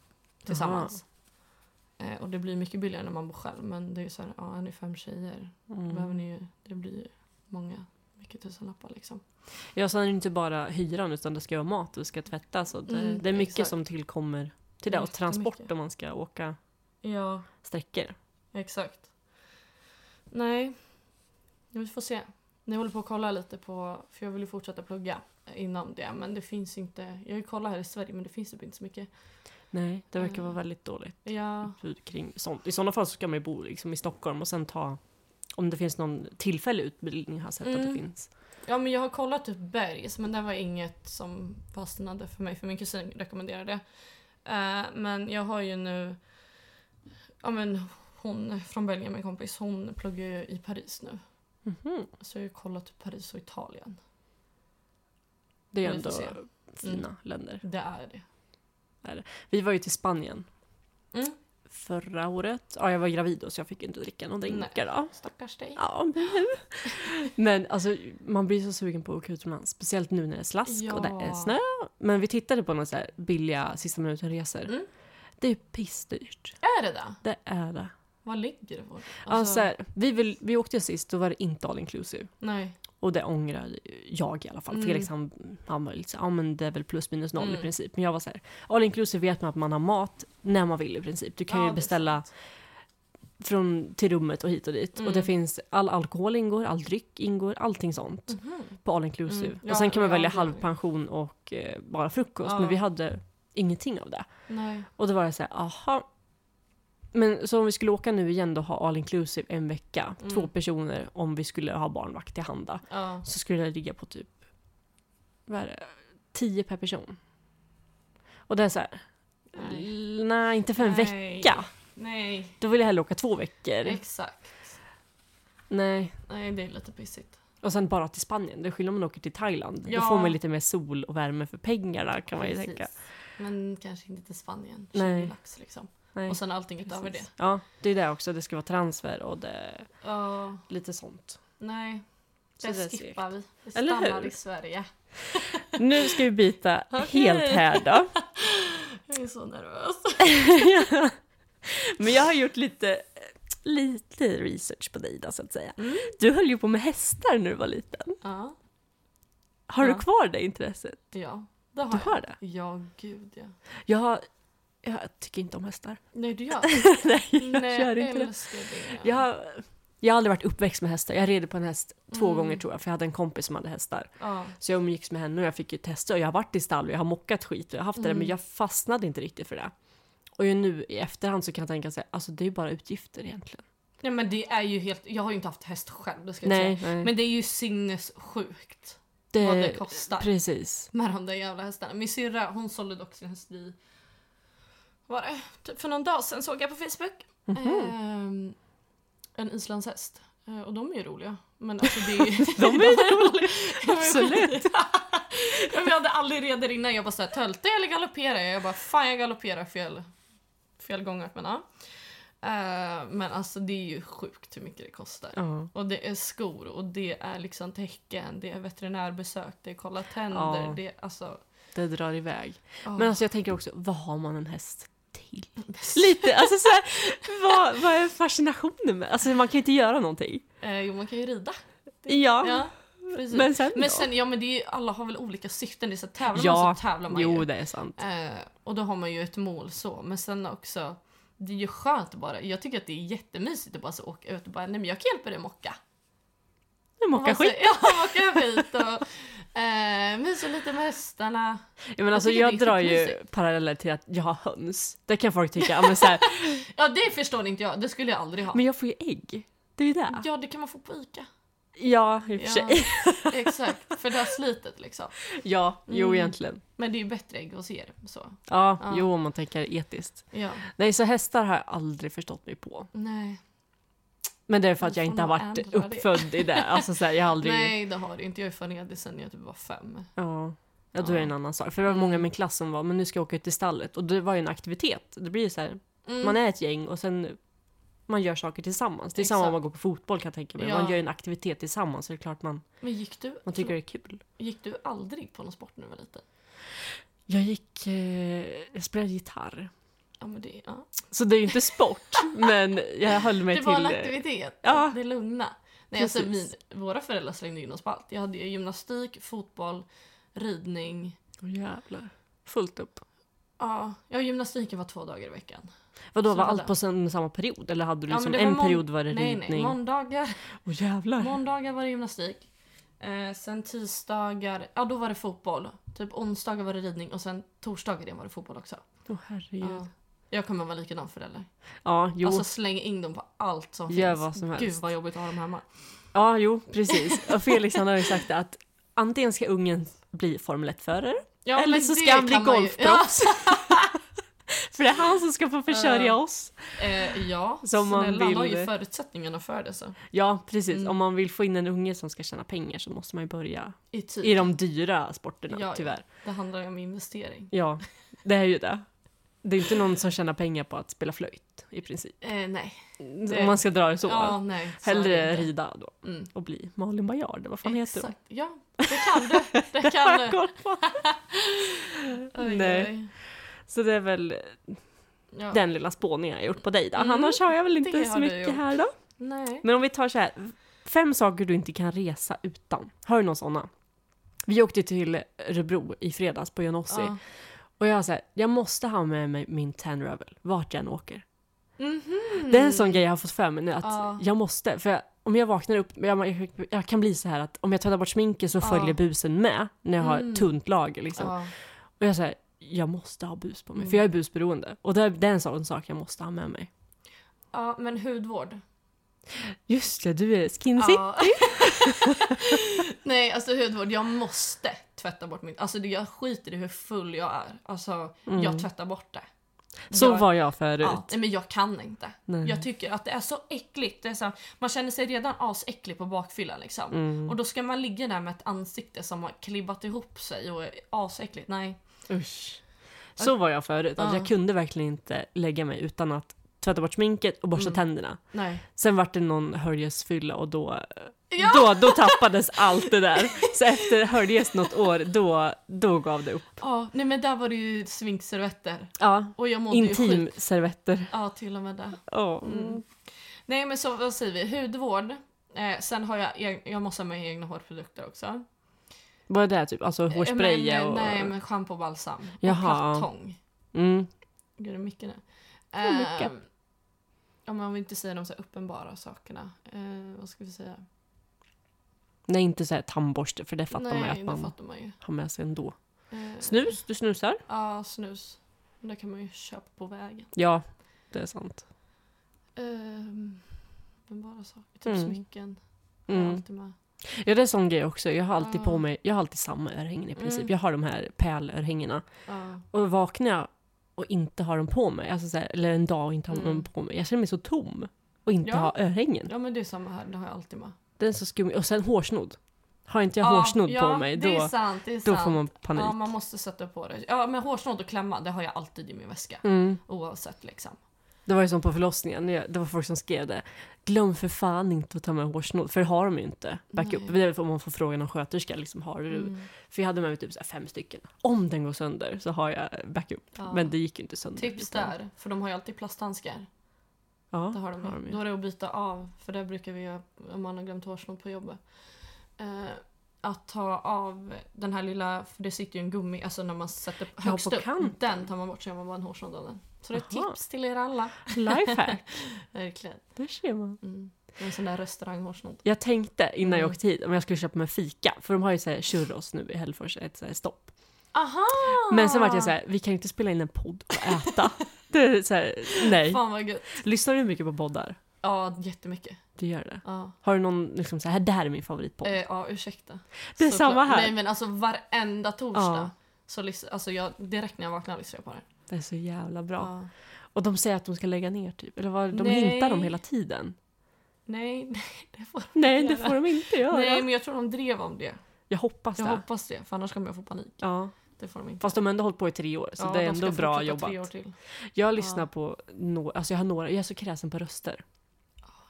S2: tillsammans. Eh, och det blir mycket billigare när man bor själv men det är ju såhär, ja är ni fem tjejer
S1: Mm.
S2: behöver ni ju, det blir ju många, mycket tusenlappar liksom.
S1: Ja, sen är det inte bara hyran utan det ska vara mat och det ska tvättas och det,
S2: Mm,
S1: det är mycket
S2: exakt.
S1: som tillkommer till det och transport
S2: Jättemycket.
S1: om man ska åka
S2: Ja,
S1: sträckor.
S2: exakt. Nej, vi får se. Jag håller på att kolla lite på, för jag vill ju fortsätta plugga inom det men det finns inte, jag har ju kollat här i Sverige men det finns typ inte så mycket.
S1: Nej, det verkar
S2: Mm.
S1: vara väldigt dåligt.
S2: Ja,
S1: utbud Kring sånt. I sådana fall så ska man ju bo liksom i Stockholm och sen ta om det finns någon tillfällig utbildning har jag sett att det
S2: Mm.
S1: finns.
S2: ja men jag har kollat typ Bergs men det var inget som fastnade för mig för min kusin rekommenderade det. Eh, men jag har ju nu, ja men hon från Belgien, min kompis, hon pluggar ju i Paris nu.
S1: Mhm.
S2: Så jag har ju kollat typ Paris och Italien.
S1: Det är
S2: Vi
S1: ändå
S2: får se. Mm.
S1: fina länder.
S2: Det är det.
S1: Vi var ju till Spanien
S2: Mm.
S1: förra året. Ja, jag var gravid då så jag fick ju inte dricka någon drinkar då.
S2: Stackars dig.
S1: Ja, men- men alltså man blir så sugen på att åka utomlands. Speciellt nu när det är slask och det är
S2: Ja.
S1: snö. Men vi tittade på några så här billiga sista minuten-resor.
S2: Mm.
S1: Det är pissdyrt.
S2: Är det det?
S1: Det är det.
S2: Var ligger det? På? Alltså,
S1: Alltså, vi, vill, vi åkte ju sist, då var det inte all inclusive.
S2: Nej.
S1: Och det ångrar jag i alla fall.
S2: Mm.
S1: Felix han, han var ju liksom, ja men det är väl plus minus noll i
S2: Mm.
S1: princip. Men jag var så här, all inclusive vet man att man har mat när man vill i princip. Du kan
S2: Ja,
S1: ju
S2: det är
S1: beställa
S2: sant.
S1: från, till rummet och hit och dit. Och det
S2: Mm.
S1: finns, all alkohol ingår, all dryck ingår, allting sånt
S2: Mhm.
S1: på all inclusive.
S2: Mm.
S1: och
S2: Ja,
S1: sen kan man
S2: ja,
S1: välja
S2: det gör vi.
S1: halvpension och eh, bara frukost.
S2: Ja.
S1: Men vi hade ingenting av det.
S2: Nej.
S1: Och då var det så här, aha. Men så om vi skulle åka nu igen då ha all inclusive en vecka,
S2: Mm.
S1: två personer om vi skulle ha barnvakt till handa.
S2: Ja.
S1: Så skulle det ligga på typ, vad är det, tio per person. Och det är så här,
S2: Nej.
S1: l- nej inte för en
S2: Nej.
S1: vecka.
S2: Nej.
S1: Då vill jag hellre åka två veckor.
S2: Exakt.
S1: nej.
S2: Nej, det är lite pissigt.
S1: Och sen bara till Spanien, det är skillnad om man åker till Thailand. Då
S2: Ja.
S1: får man lite mer sol och värme för pengarna kan man ju tänka.
S2: Men kanske inte till Spanien.
S1: Nej.
S2: Nej. Lax, liksom.
S1: Nej,
S2: Och sen allting utöver det.
S1: precis. Ja, det är det också. Det ska vara transfer och det,
S2: Ja,
S1: lite sånt.
S2: nej.
S1: Så
S2: Det,
S1: är segt.
S2: skippar vi. Vi
S1: Eller
S2: stannar
S1: hur?
S2: i Sverige.
S1: Nu ska vi byta helt här då. *laughs*
S2: Jag är så nervös.
S1: Men jag har gjort lite, lite research på dig då, så att säga.
S2: Mm.
S1: Du höll ju på med hästar när du var liten.
S2: Ja,
S1: Har du
S2: Ja.
S1: kvar det intresset?
S2: ja. Det har
S1: Du
S2: jag.
S1: har det?
S2: Ja, gud ja.
S1: Jag, jag tycker inte om hästar.
S2: Nej, du gör
S1: *laughs* Nej, jag
S2: Nej,
S1: gör
S2: jag
S1: inte det.
S2: älskar det.
S1: Jag, har- jag har aldrig varit uppväxt med hästar. Jag red på en häst två
S2: Mm.
S1: gånger tror jag, för jag hade en kompis som hade hästar.
S2: Ja.
S1: Så jag umgicks med henne och jag fick ju testa och jag har varit i stall och jag har mockat skit och jag har haft det där,
S2: Mm.
S1: men jag fastnade inte riktigt för det. Och ju nu i efterhand så kan jag tänka sig, alltså det är ju bara utgifter egentligen.
S2: Nej, men det är ju helt... Jag har ju inte haft häst själv, det ska jag
S1: Nej,
S2: säga.
S1: nej.
S2: Men det är ju sinnessjukt
S1: det,
S2: vad det kostar.
S1: Precis.
S2: med de där jävla hästarna. Min syrra hon sålde dock sin häst i... Vad var det? Typ för någon dag sedan såg jag på Facebook.
S1: Mhm.
S2: Ehm, en islandshäst. Eh, och de är ju roliga. Men alltså det är ju...
S1: *laughs* *laughs* De är ju
S2: *laughs* roliga. *laughs*
S1: Absolut.
S2: jag hade aldrig reder innan. Jag bara såhär, töltar jag eller galopperar jag? Jag bara, fan jag galopperar fel, fel gånger. Men, ja. Eh, men alltså det är ju sjukt hur mycket det kostar.
S1: Ja.
S2: Och det är skor och det är liksom tecken, det är veterinärbesök, det är kolla tänder,
S1: Ja.
S2: det är alltså...
S1: Det drar iväg.
S2: ja.
S1: Men alltså jag tänker också, vad har man en häst
S2: *laughs*
S1: till?
S2: Precis.
S1: Lite, alltså så här, vad, vad är fascinationen med? Alltså man kan ju inte göra någonting.
S2: Eh, jo, man kan ju rida.
S1: Ja,
S2: Ja, precis. Men,
S1: men sen då?
S2: sen, ja men det är, ju- alla har väl olika syften. Det är så att tävlar
S1: Ja,
S2: man så tävlar man
S1: Jo,
S2: ju.
S1: det är sant.
S2: Eh, och då har man ju ett mål så. Men sen också, det är ju skönt bara. Jag tycker att det är jättemysigt att bara så åka ut och bara, nej men jag kan hjälpa dig att mocka.
S1: Jag mockar
S2: Man
S1: skit.
S2: säger, *laughs* Ja, mocka skit och eh, mysa lite med hästarna.
S1: Ja, men alltså,
S2: tycker
S1: jag
S2: det är
S1: drar ju
S2: skitmysigt.
S1: paralleller till att jag har höns. Det kan folk tycka, ja, men, så här,
S2: Ja, det förstår inte jag. Det skulle jag aldrig ha.
S1: men jag får ju ägg. Det är ju det.
S2: Ja, det kan man få på ICA.
S1: Ja, i och för
S2: Ja,
S1: sig.
S2: exakt, för det här slitet liksom.
S1: *laughs* Ja, jo
S2: Mm.
S1: egentligen.
S2: Men det är ju bättre ägg hos er. Så.
S1: Ja,
S2: Ja.
S1: jo om man tänker etiskt.
S2: Ja,
S1: Nej, så hästar har jag aldrig förstått mig på.
S2: nej.
S1: Men det är för att
S2: Då
S1: jag
S2: får
S1: inte har
S2: man
S1: varit
S2: ändra det.
S1: uppfödd i det. Alltså så här, jag har aldrig...
S2: Nej, det har du inte. Jag är förnedrad sen jag typ var fem.
S1: Ja. ja, då är det en annan sak. För det var många i min klass som var, men nu ska jag åka ut till stallet. Och det var ju en aktivitet. Det blir ju så här,
S2: Mm.
S1: man är ett gäng och sen man gör saker tillsammans. Det är samma om
S2: Exakt.
S1: man går på fotboll kan jag tänka mig.
S2: Ja.
S1: Man gör ju en aktivitet tillsammans så det är klart man,
S2: Men gick du,
S1: man tycker det är kul.
S2: gick du aldrig på någon sport när du var liten?
S1: Jag gick, eh, jag spelade gitarr.
S2: Ja, men det, ja.
S1: Så det är ju inte *laughs* sport, men jag höll mig
S2: det var en
S1: till... eh,
S2: aktivitet.
S1: ja.
S2: Det lugna. Nej, alltså, min,
S1: Precis.
S2: våra föräldrar slängde in oss på allt. Jag hade ju gymnastik, fotboll, ridning.
S1: Åh jävlar. Fullt upp.
S2: Ja, ja, gymnastiken var två dagar i veckan.
S1: Vadå,
S2: Så
S1: var
S2: var
S1: allt
S2: det.
S1: på sen- samma period? Eller hade du
S2: Ja,
S1: liksom
S2: men det var
S1: en
S2: mån-
S1: period var det
S2: Nej, nej.
S1: ridning? Åh
S2: Måndagar
S1: jävlar!
S2: Måndagar var det gymnastik. Eh, sen tisdagar, ja då var det fotboll. Typ onsdagar var det ridning och sen torsdagar igen var det fotboll också.
S1: Åh herregud. Ja,
S2: Ja. Jag kommer vara likadan förälder.
S1: jo.
S2: Alltså slänga in dem på allt som
S1: Gör
S2: finns.
S1: vad som
S2: Gud
S1: helst.
S2: vad jobbigt att ha dem hemma.
S1: ja, jo, precis. Och Felix han har ju sagt det att antingen ska ungen bli Formel 1-förare
S2: Ja,
S1: eller
S2: men
S1: så ska
S2: det
S1: han bli
S2: kan man ju-
S1: golfproffs. För det är han som ska få försörja
S2: Ja.
S1: oss.
S2: Ja, eh, ja
S1: Som man
S2: snälla han har
S1: vill.
S2: ju förutsättningarna för det så.
S1: Ja, precis.
S2: Mm.
S1: Om man vill få in en unge som ska tjäna pengar så måste man ju börja
S2: I typ, tid.
S1: Typ. i de dyra sporterna,
S2: Ja, ja.
S1: tyvärr.
S2: Det handlar ju om investering.
S1: Ja, det är ju det. Det är inte någon som tjänar pengar på att spela flöjt i princip.
S2: Eh, nej.
S1: Om man ska dra det så.
S2: Ja, nej. så är det
S1: Hellre
S2: inte.
S1: rida då
S2: Mm.
S1: och bli Malin Baryard. Vad fan heter hon?
S2: Exakt. Ja, det kan du. Det
S1: *laughs*
S2: kan du.
S1: Koll på.
S2: Oj,
S1: Nej.
S2: oj.
S1: Så det är väl
S2: Ja.
S1: den lilla spåningen jag gjort på dig då.
S2: Mm,
S1: Annars har jag väl inte
S2: det
S1: så
S2: har du
S1: mycket
S2: gjort.
S1: här då.
S2: Nej.
S1: Men om vi tar så här. Fem saker du inte kan resa utan. Har du någon såna? Vi åkte till Örebro i fredags på Johnossi.
S2: Ja.
S1: Och jag säger, jag måste ha med mig min tan rubble vart jag än åker.
S2: Mhm.
S1: Det är en sån grej jag har fått för mig nu att
S2: Ja.
S1: jag måste. För jag, om jag vaknar upp, jag, jag, jag kan bli så här att om jag tvättar bort sminket så
S2: Ja.
S1: följer busen med när jag har
S2: Mm.
S1: tunt lager liksom.
S2: Ja.
S1: Och jag säger, jag måste ha bus på mig
S2: Mm.
S1: för jag är busberoende. Och det, är- det är en sån sak jag måste ha med mig.
S2: ja, men hudvård.
S1: Just det, du är skinzy.
S2: Ja. *laughs* Nej, alltså hudvård. Jag måste tvätta bort min... Alltså det- jag skiter i hur full jag är. Alltså
S1: Mm.
S2: jag tvättar bort det.
S1: Så
S2: jag,
S1: var jag förut.
S2: ja, nej, men jag kan inte.
S1: Nej.
S2: Jag tycker att det är så äckligt. Det är så här, man känner sig redan asäcklig på bakfyllan liksom.
S1: Mm.
S2: Och då ska man ligga där med ett ansikte som har klibbat ihop sig och är asäckligt. Nej.
S1: Usch. Så var jag förut, att
S2: Ja.
S1: jag kunde verkligen inte lägga mig utan att tvätta bort sminket och borsta
S2: Mm.
S1: tänderna.
S2: Nej.
S1: Sen vart det någon höljesfylla och då,
S2: Ja!
S1: då, då tappades allt det där. Så efter höljes något år, då, då gav det upp.
S2: Ja, nej men där var det ju svinkservetter.
S1: Ja,
S2: Och jag mådde ju skit.
S1: intimservetter.
S2: Ja, till och med det.
S1: Ja.
S2: Mm. Nej men så vad säger vi, hudvård. Eh, sen har jag, eg- jag måste ha med egna hårprodukter också.
S1: Vad är det typ? Alltså hårspray
S2: men, eh,
S1: och...
S2: Nej men schampo och balsam.
S1: Jaha.
S2: Och plattång.
S1: Mm.
S2: Gud det är mycket nu.
S1: är mycket.
S2: Eh, ja, men om vi inte säger de så här uppenbara sakerna. Eh, vad ska vi säga?
S1: Nej, inte så här tandborste för det fattar man ju
S2: nej,
S1: att man
S2: det fattar man ju.
S1: har med sig ändå.
S2: Eh,
S1: Snus? Du snusar?
S2: Ja, snus. Men Det kan man ju köpa på vägen.
S1: Ja, det är sant.
S2: Eh, uppenbara saker. Typ
S1: Mm.
S2: smycken. har jag
S1: Mm.
S2: Alltid med.
S1: Ja, det är sån grej också. Jag har alltid
S2: Ja.
S1: på mig, jag har alltid samma örhängen i princip.
S2: Mm.
S1: Jag har de här pärlörhängena.
S2: Ja.
S1: Och vaknar jag och inte har dem på mig, alltså så här, eller en dag och inte har
S2: Mm.
S1: dem på mig, jag känner mig så tom. Och inte
S2: Ja.
S1: ha örhängen.
S2: ja, men det är samma här. Det har jag alltid med.
S1: Den är så skum. Och sen hårsnodd. Har inte jag
S2: ja,
S1: hårsnodd på
S2: ja,
S1: mig,
S2: det är
S1: då,
S2: sant. Det är
S1: då
S2: sant.
S1: får man panik.
S2: Ja, man måste sätta på det. Ja, men hårsnodd och klämma, det har jag alltid i min väska.
S1: Mm.
S2: Oavsett liksom.
S1: Det var ju som på förlossningen, jag- det var folk som skrev det. Glöm för fan inte att ta med hårsnodd, för det har de ju inte. Backup.
S2: Nej.
S1: Det är väl om man får frågan av sköterska, liksom, har du?
S2: Mm.
S1: För jag hade med mig typ så här fem stycken. Om den går sönder så har jag backup.
S2: Ja. Typ
S1: Men det gick ju inte sönder.
S2: Tips
S1: utan-
S2: där, för de har ju alltid plasthandskar.
S1: Ja,
S2: Det har de,
S1: har de
S2: ju.
S1: ju.
S2: Då är det att byta av, för det brukar vi göra om man har glömt hårsnodd på jobbet. Eh, att ta av den här lilla, för det sitter ju en gummi, alltså när man sätter
S1: på
S2: högst upp.
S1: kanten.
S2: Den tar man bort så gör man bara en hårsnodd av den. Så det är ett
S1: Aha.
S2: tips till er alla.
S1: Lifehack,
S2: Verkligen.
S1: där ser man.
S2: Mm. En sån där restauranghårsnodd.
S1: Jag tänkte innan jag
S2: Mm.
S1: åkte hit om jag skulle köpa mig fika, för de har ju så här churros nu i Hällefors, ett så här stopp.
S2: Aha!
S1: Men sen vart jag så här, vi kan ju inte spela in en podd och
S2: *laughs*
S1: äta. det är så här, nej.
S2: Fan vad gött.
S1: Lyssnar du mycket på poddar?
S2: Ja, jättemycket.
S1: Du gör det.
S2: Ja.
S1: Har du någon liksom så här, det här är min favoritpodd?
S2: Eh, ja, ursäkta.
S1: Det är
S2: Såklart.
S1: samma här.
S2: Nej men alltså varenda torsdag.
S1: Ja.
S2: Så lys- alltså jag, direkt när jag vaknar lyssnar jag på den.
S1: Det är så jävla bra.
S2: Ja.
S1: Och de säger att de ska lägga ner typ, eller vad, de
S2: Nej.
S1: hintar om hela tiden.
S2: Nej, nej, det får
S1: Nej, det
S2: Jävlar.
S1: får de inte göra.
S2: Nej men jag tror de drev om det.
S1: Jag hoppas
S2: Jag
S1: det.
S2: hoppas det, för annars kommer jag få panik.
S1: Ja,
S2: Det får de inte.
S1: fast de har ändå hållit på i tre år, så
S2: Ja,
S1: det är
S2: de ska
S1: ändå bra
S2: fortsätta
S1: jobbat.
S2: Tre år till.
S1: Jag lyssnar
S2: Ja.
S1: på några, alltså jag har några, jag är så kräsen på röster.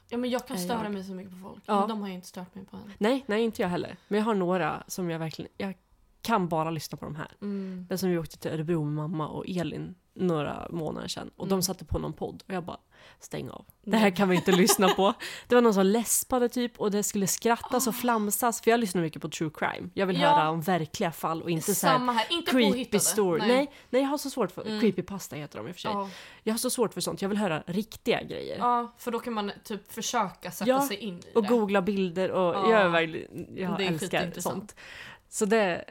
S2: Ja men jag kan
S1: Ja,
S2: störa
S1: jag-
S2: mig så mycket på folk.
S1: Ja.
S2: Men de har ju inte stört mig på än.
S1: Nej, nej inte jag heller. Men jag har några som jag verkligen, jag kan bara lyssna på de här.
S2: Mm.
S1: Den som vi åkte till Örebro med mamma och Elin några månader sedan och
S2: Mm.
S1: de satte på någon podd och jag bara stäng av. Det här kan vi inte lyssna på.
S2: *laughs*
S1: Det var någon som läspade typ och det skulle skrattas och flamsas för jag lyssnar mycket på true crime. Jag vill
S2: Ah. Ja.
S1: höra om verkliga fall och inte så här
S2: Samma här, inte
S1: creepy
S2: påhittade.
S1: story. Nej. Nej, jag har så svårt för,
S2: Mm.
S1: creepypasta heter de i och för sig.
S2: Ja.
S1: Jag har så svårt för sånt, jag vill höra riktiga grejer.
S2: ja, för då kan man typ försöka sätta
S1: Ja,
S2: sig in i
S1: Och
S2: det.
S1: googla bilder och
S2: Ja.
S1: jag, är verkligen, jag
S2: Det är
S1: älskar
S2: skitintressant.
S1: sånt. Så det,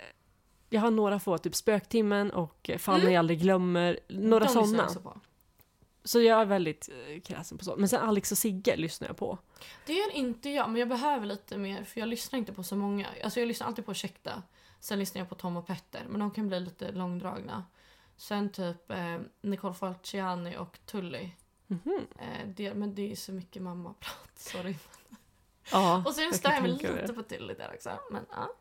S1: jag har några få, typ Spöktimmen och Fan jag aldrig glömmer, några
S2: Mm. de lyssnar jag
S1: sådana.
S2: också på.
S1: Så jag är väldigt eh, kräsen på sånt. Men sen Alex och Sigge lyssnar jag på.
S2: Det gör inte jag, men jag behöver lite mer för jag lyssnar inte på så många. Alltså jag lyssnar alltid på Ursäkta. Sen lyssnar jag på Tom och Petter, men de kan bli lite långdragna. Sen typ eh, Nicole Falciani och Tully.
S1: Mhm.
S2: Eh, det, men det är så mycket mammaprat, sorry.
S1: Ja,
S2: Och sen
S1: jag
S2: stör
S1: kan
S2: jag mig
S1: tänka mig
S2: lite på Tully där också. Men, ja.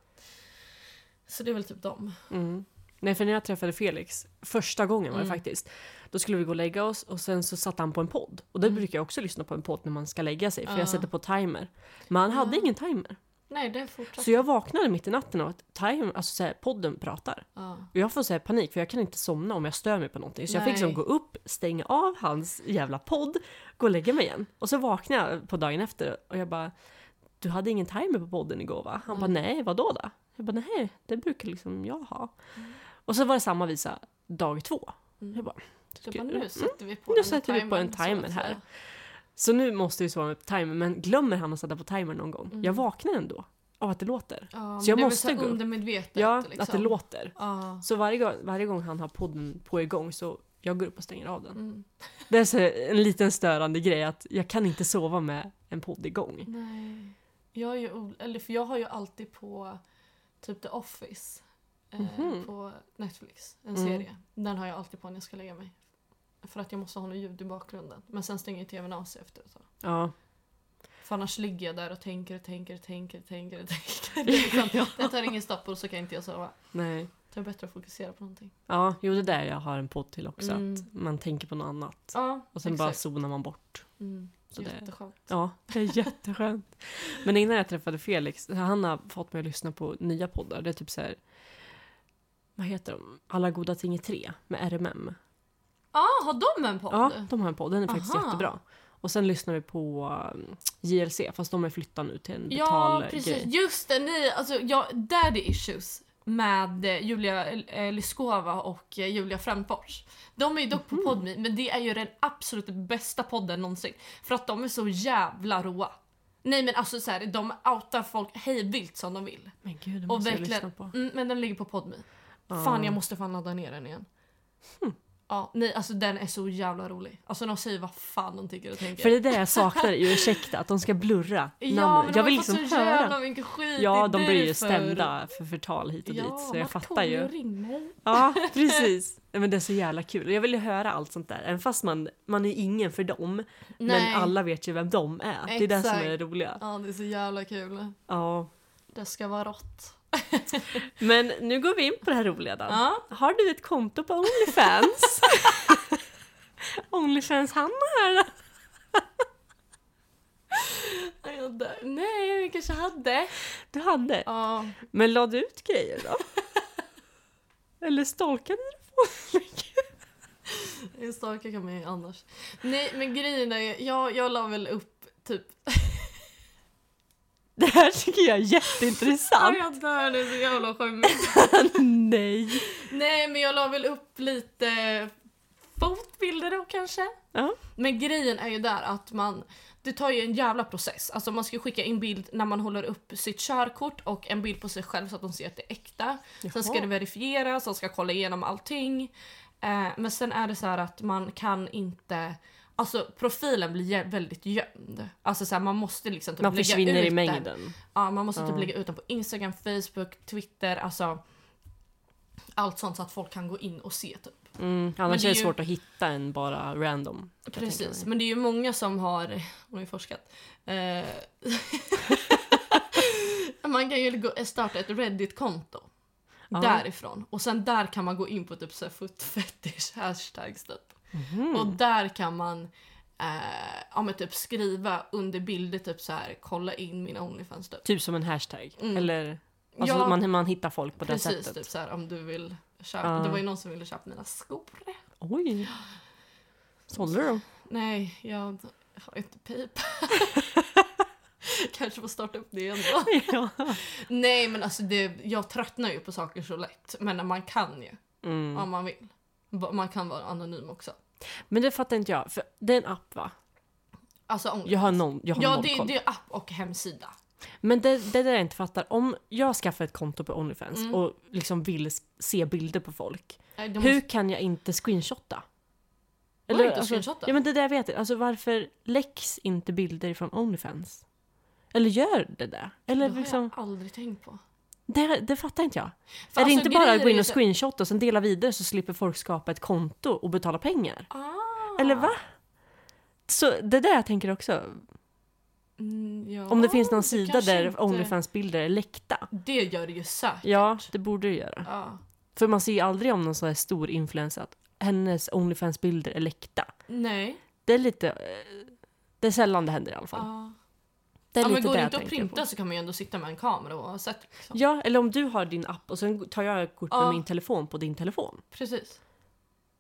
S2: Så det är väl typ dem.
S1: mm. Nej, för när jag träffade Felix första gången var det
S2: Mm.
S1: faktiskt. Då skulle vi gå och lägga oss och sen så satte han på en podd. Och där
S2: Mm.
S1: brukar jag också lyssna på en podd när man ska lägga sig för
S2: Ja.
S1: jag sätter på timer. Men han hade
S2: Ja.
S1: ingen timer.
S2: Nej, det fortsatte.
S1: Så jag vaknade mitt i natten av att timer, alltså så här, podden pratar.
S2: Ja.
S1: Och jag får så här panik för jag kan inte somna om jag stör mig på någonting. Så jag fick
S2: Nej.
S1: liksom gå upp, stänga av hans jävla podd, gå och lägga mig igen. Och så vaknade jag på dagen efter och jag bara Du hade ingen timer på podden igår va? Han bara
S2: Mm.
S1: nej, vad då då? Jag bara nej, det brukar liksom jag ha. Och så var det samma visa dag två.
S2: Mm.
S1: Jag bara,
S2: Så bara, nu sätter vi på
S1: mm, Nu
S2: den här
S1: sätter vi på en
S2: timern, så att
S1: timer här.
S2: säga.
S1: Så nu måste vi svara med timer, men glömmer han att sätta på timer någon gång?
S2: Mm.
S1: Jag vaknar ändå av att det låter. Så
S2: Ja, men
S1: jag
S2: det är väl
S1: måste
S2: här
S1: gå upp.
S2: undermedvetet.
S1: Ja,
S2: liksom.
S1: att det låter.
S2: Ja.
S1: Så varje gång, varje gång han har podden på igång så jag går upp och stänger av den.
S2: Mm.
S1: Det är så en liten störande grej att jag kan inte sova med en podd igång.
S2: Nej. Jag, är ju, ol- eller för jag har ju alltid på typ The Office
S1: Mhm.
S2: eh, på Netflix, en
S1: Mm.
S2: serie. Den har jag alltid på när jag ska lägga mig. För att jag måste ha något ljud i bakgrunden. Men sen stänger ju tvn av sig efter ett tag.
S1: Ja.
S2: För annars ligger jag där och tänker och tänker och tänker och tänker och tänker. Det, är *laughs* liksom, det tar ingen stopp och så kan inte jag sova.
S1: Nej.
S2: Det är bättre att fokusera på någonting.
S1: Ja, jo det är där jag har en podd till också.
S2: Mm.
S1: Att man tänker på något annat.
S2: Ja,
S1: Och sen bara
S2: exakt.
S1: zonar man bort.
S2: Mm.
S1: så det-
S2: Jätteskönt.
S1: Ja, det är jätteskönt. Men innan jag träffade Felix, han har fått mig att lyssna på nya poddar. Det är typ så här, vad heter de? Alla goda ting i tre med RMM.
S2: Ja, har de en podd?
S1: Ja, de har en podd. Den är faktiskt
S2: Aha.
S1: jättebra. Och sen lyssnar vi på um, JLC, fast de har flyttat nu till en
S2: Ja,
S1: betalgrej.
S2: precis. Just det, ni, alltså, ja, daddy issues med eh, Julia eh, Lyskova och eh, Julia Frändfors. De är ju dock på
S1: Mhm.
S2: Podmi, men det är ju den absolut bästa podden någonsin. För att de är så jävla roa. Nej men alltså så här, de outar folk hejvilt som de vill.
S1: Men gud, det
S2: Och
S1: måste jag
S2: verkligen-
S1: lyssna på.
S2: Mm, men den ligger på Podmi.
S1: Ja. Hm.
S2: Fan jag måste fan ladda ner den igen. Ja, nej alltså den är så jävla rolig. Alltså de säger vad fan de tycker och tänker.
S1: För det är det jag saknar i Ursäkta, att de ska blurra
S2: *laughs* ja,
S1: namnen. Jag
S2: men de
S1: vill
S2: har fått
S1: liksom
S2: så
S1: höra.
S2: jävla mycket skit.
S1: Ja,
S2: det
S1: de
S2: är
S1: blir ju
S2: därför.
S1: stämda för förtal hit och dit. Så jag fattar
S2: Markoolio,
S1: ju.
S2: ring mig. *laughs*
S1: Ja, precis. Nej, Men det är så jävla kul. Jag vill ju höra allt sånt där. Även fast man, man är ju ingen för dem.
S2: Nej.
S1: Men alla vet ju vem de är. Det är det som är det
S2: Exakt.
S1: roliga.
S2: Ja, det är så jävla kul.
S1: Ja.
S2: Det ska vara rått.
S1: Men nu går vi in på det här roliga då.
S2: Ja.
S1: Har du ett konto på
S2: *laughs*
S1: Onlyfans? Onlyfans-Hanna här då?
S2: Jag dör. Nej, vi kanske hade.
S1: Du hade.
S2: Ja.
S1: Men la du ut grejer
S2: *laughs*
S1: då? Eller stalkade du folk?
S2: En stalker kan man ju annars. Nej, men grejen är ju- jag, jag la väl upp typ...
S1: Det här tycker jag är
S2: Ja,
S1: jätteintressant.
S2: jag dör, det är så jävla skämmigt.
S1: Nej.
S2: Nej, men jag la väl upp lite fotbilder då kanske.
S1: Ja.
S2: Men grejen är ju där att man, det tar ju en jävla process. Alltså man ska skicka in bild när man håller upp sitt körkort och en bild på sig själv så att de ser att det är äkta. Sen ska
S1: Jaha.
S2: det verifieras, de ska kolla igenom allting. Eh, men sen är det så här att man kan inte, alltså profilen blir jä- väldigt gömd. Alltså så här, man måste liksom typ
S1: Man
S2: lägga
S1: försvinner i
S2: ut den.
S1: mängden.
S2: Ja, man måste
S1: Ja.
S2: typ lägga ut den på Instagram, Facebook, Twitter, alltså allt sånt så att folk kan gå in och se typ.
S1: Mm,
S2: Men
S1: annars
S2: det
S1: är
S2: är
S1: det
S2: ju-
S1: svårt att hitta en bara random. kan jag tänka
S2: Precis,
S1: mig.
S2: men det är ju många som har, hon har ju forskat, eh, *laughs* man kan ju gå, starta ett Reddit-konto
S1: Ja.
S2: därifrån och sen där kan man gå in på typ så här foot fetish hashtags typ.
S1: Mhm.
S2: Och där kan man eh, ja, men typ skriva under bilder typ så här kolla in mina Onlyfans typ.
S1: Typ som en hashtag.
S2: Mm.
S1: Eller alltså,
S2: Ja.
S1: man, man hittar folk på det
S2: Precis,
S1: sättet.
S2: typ så här om du vill köpa,
S1: Ja.
S2: det var ju någon som ville köpa mina skor.
S1: Oj. Sålde du dem?
S2: Nej, jag har inte pipa. Kanske får starta upp det igen då.
S1: *laughs* ja.
S2: Nej men alltså det, jag tröttnar ju på saker så lätt. Men man kan ju
S1: Mm.
S2: om man vill. Va- Man kan vara anonym också.
S1: Men det fattar inte jag. För det är en app va?
S2: Alltså om,
S1: Jag har någon, jag har
S2: Ja
S1: noll
S2: det,
S1: koll.
S2: det är app och hemsida.
S1: Men det, det är det jag inte fattar. Om jag skaffar ett konto på Onlyfans
S2: Mm.
S1: och liksom vill s- se bilder på folk.
S2: Nej, det
S1: Hur
S2: måste-
S1: kan jag inte screenshotta? alltså,
S2: Går det inte att screenshotta?
S1: Ja men det är det jag vet inte. Alltså varför läcks inte bilder från Onlyfans? Eller gör det det?
S2: det
S1: Eller
S2: har
S1: liksom,
S2: jag aldrig tänkt på.
S1: det, det fattar inte jag.
S2: För
S1: är det
S2: alltså,
S1: inte bara att
S2: grejen
S1: gå
S2: är
S1: in
S2: ju
S1: och
S2: så-
S1: screenshotta och sen dela vidare så slipper folk skapa ett konto och betala pengar?
S2: Ah.
S1: Eller va? Så det är det jag tänker också.
S2: Mm, ja,
S1: Om det finns någon sida
S2: kanske
S1: där
S2: inte-
S1: Onlyfans-bilder är läckta.
S2: Det gör det ju säkert.
S1: Ja, det borde det göra.
S2: Ja.
S1: För man ser ju aldrig om någon sån här stor influencer att hennes Onlyfans-bilder är läckta.
S2: Nej.
S1: Det är lite... eh, Det är sällan det händer i alla fall.
S2: Ja.
S1: Det är
S2: ja, men
S1: lite
S2: går
S1: det
S2: det
S1: jag
S2: inte att
S1: tänker på.
S2: printa så kan man ju ändå sitta med en kamera och ha sett. Liksom.
S1: Ja, eller om du har din app och sen tar jag ett kort med
S2: Ja.
S1: min telefon på din telefon.
S2: Precis.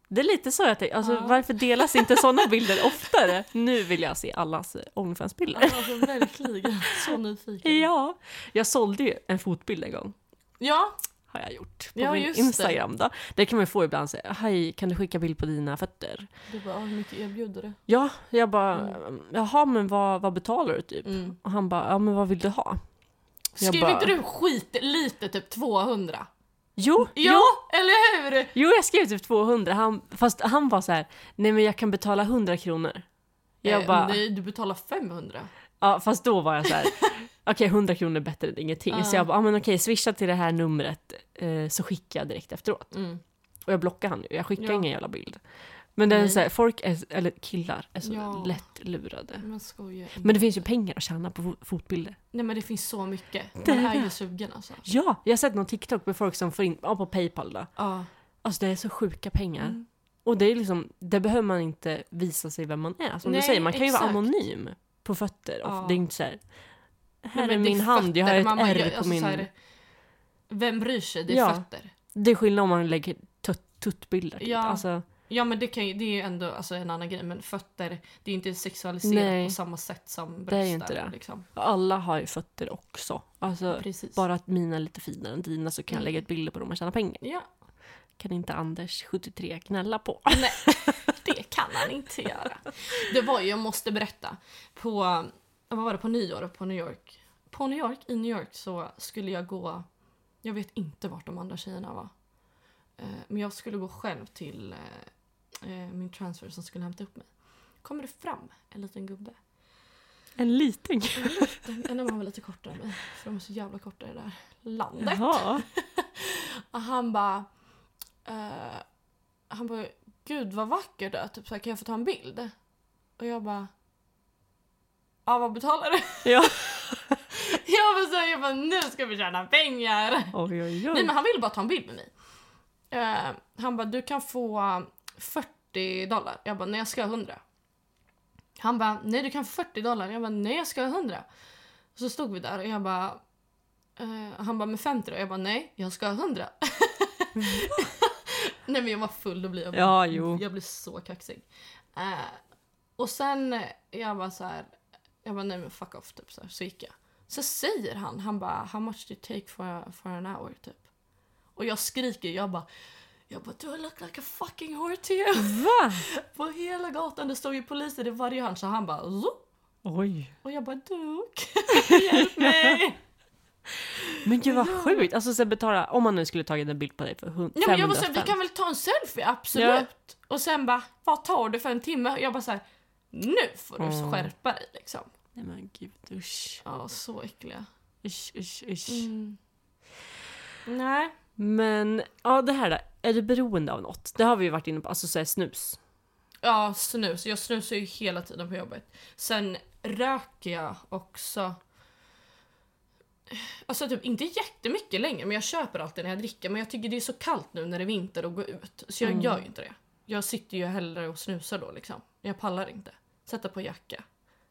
S1: Det är lite så jag tänker. Alltså,
S2: Ja.
S1: Varför delas inte sådana *laughs* bilder oftare? Nu vill jag se allas eh, Onlyfans-bilder.
S2: Alltså, verkligen. *laughs* Så nyfiken.
S1: Ja, jag sålde ju en fotbild en gång.
S2: Ja,
S1: Har jag gjort. På
S2: Ja,
S1: min
S2: just det.
S1: Instagram då. Det kan man ju få ibland. Så, Hej, kan du skicka bild på dina fötter?
S2: du bara, "Ah, hur mycket erbjuder det?
S1: Ja, jag bara, jaha men vad, vad betalar du typ?
S2: Mm.
S1: Och han bara, ja men vad vill du ha? Jag
S2: Skrev
S1: bara-
S2: inte du skit lite typ 200?
S1: Jo,
S2: Ja,
S1: jo,
S2: eller hur?
S1: jo jag skrev typ 200, han, fast han var så här, nej men jag kan betala 100 kronor. Jag
S2: Eh,
S1: bara,
S2: Nej, du betalar 500.
S1: ja fast då var jag
S2: *laughs*
S1: så här, okej 100 kronor är bättre än ingenting. Så
S2: Ja.
S1: jag bara, ja men okej swisha till det här numret eh, så skickar jag direkt efteråt.
S2: Mm.
S1: Och jag blockar han nu, jag skickar
S2: Ja.
S1: ingen jävla bild. Men det är
S2: Nej.
S1: så här, folk, är, eller killar, är så
S2: Ja.
S1: lätt lurade.
S2: Men skojar inte.
S1: Men det finns ju pengar att tjäna på fo- fotbilder.
S2: Nej men det finns så mycket. Man
S1: Det är
S2: är
S1: det.
S2: ju sugen alltså.
S1: Ja, jag har sett någon TikTok med folk som får in, ja, på Paypal då.
S2: Ja.
S1: Alltså det är så sjuka pengar.
S2: Mm.
S1: Och det är liksom, där behöver man inte visa sig vem man är. Som
S2: Nej,
S1: du säger, man kan ju vara
S2: exakt.
S1: anonym på fötter. Och
S2: Ja.
S1: Det är inte såhär, här
S2: Nej,
S1: är
S2: men det
S1: min hand, jag har
S2: fötter.
S1: ett
S2: Man bara gör-
S1: ärr på
S2: alltså,
S1: min...
S2: så här, vem bryr sig? Det är
S1: Ja.
S2: fötter.
S1: Det är skillnad om man lägger tut- tuttbilder. Typ.
S2: Ja.
S1: Alltså,
S2: Ja men det, kan ju, det är ju ändå alltså, en annan grej. Men fötter, det är ju inte sexualiserat
S1: Nej.
S2: på samma sätt som bröst.
S1: Det är ju inte
S2: är,
S1: det.
S2: Liksom.
S1: alla har ju fötter också. Alltså,
S2: Precis.
S1: bara att mina är lite finare än dina så kan jag
S2: Mm.
S1: lägga ett bilder på dem och tjäna pengar.
S2: Ja,
S1: Kan inte Anders, 73, gnälla på. *laughs*
S2: det kan han inte göra. Det var ju, jag måste berätta, på, vad var det, på nyår på New York. På New York, i New York så skulle jag gå, jag vet inte vart de andra tjejerna var. Eh, Men jag skulle gå själv till eh, eh, min transfer som skulle hämta upp mig. Kommer det fram en liten gubbe.
S1: En liten
S2: Den ena var väl lite kortare än mig, för de är så jävla korta i det där landet.
S1: Jaha.
S2: Och han bara... eh, han bara, gud vad vacker du är. Typ så här, kan jag få ta en bild? Och jag bara... Ja, vad betalar du? *laughs*
S1: Ja.
S2: Jag bara, så här, jag bara, nu ska vi tjäna pengar!
S1: Oj, oj, oj.
S2: Nej men han ville bara ta en bild med mig. Eh, han bara, du kan få 40 dollar. Jag bara, nej jag ska ha 100. Han bara, nej du kan få 40 dollar. Jag bara, nej jag ska ha 100. Så stod vi där och jag bara, eh, han bara med 50 då? Jag bara, nej jag ska ha 100. *laughs* nej men jag var full, då blir jag,
S1: Mm. Ja, jo.
S2: jag blir så kaxig. Eh, och sen, eh, jag bara så här, jag bara nej men fuck off typ så, här, så gick jag. Så säger han, han bara how much do you take for, for an hour typ. Och jag skriker, jag bara jag bara du look like a fucking whore to you. *laughs*
S1: Va?
S2: På hela gatan, det stod ju poliser i varje hörn så han bara zoop.
S1: Oj.
S2: Och jag bara duk, *laughs* hjälp mig.
S1: Men gud vad sjukt! Alltså sen betala, om man nu skulle tagit en bild på dig för hund-
S2: Nej, men jag
S1: 500
S2: bara såhär, vi
S1: spänn.
S2: kan väl ta en selfie, absolut. Och sen bara, vad tar du för en timme? Och jag bara såhär, nu får du
S1: Mm.
S2: skärpa dig liksom.
S1: Nej men gud usch.
S2: Ja, så äckliga.
S1: Usch usch usch.
S2: Nej.
S1: Men ja det här då. Är du beroende av något? Det har vi ju varit inne på. Alltså såhär snus.
S2: Ja, snus. Jag snusar ju hela tiden på jobbet. Sen röker jag också. Alltså typ inte jättemycket längre, men jag köper alltid när jag dricker. Men jag tycker det är så kallt nu när det är vinter och gå ut. Så jag
S1: Mm.
S2: gör ju inte det. Jag sitter ju hellre och snusar då liksom. Jag pallar inte. Sätta på jacka.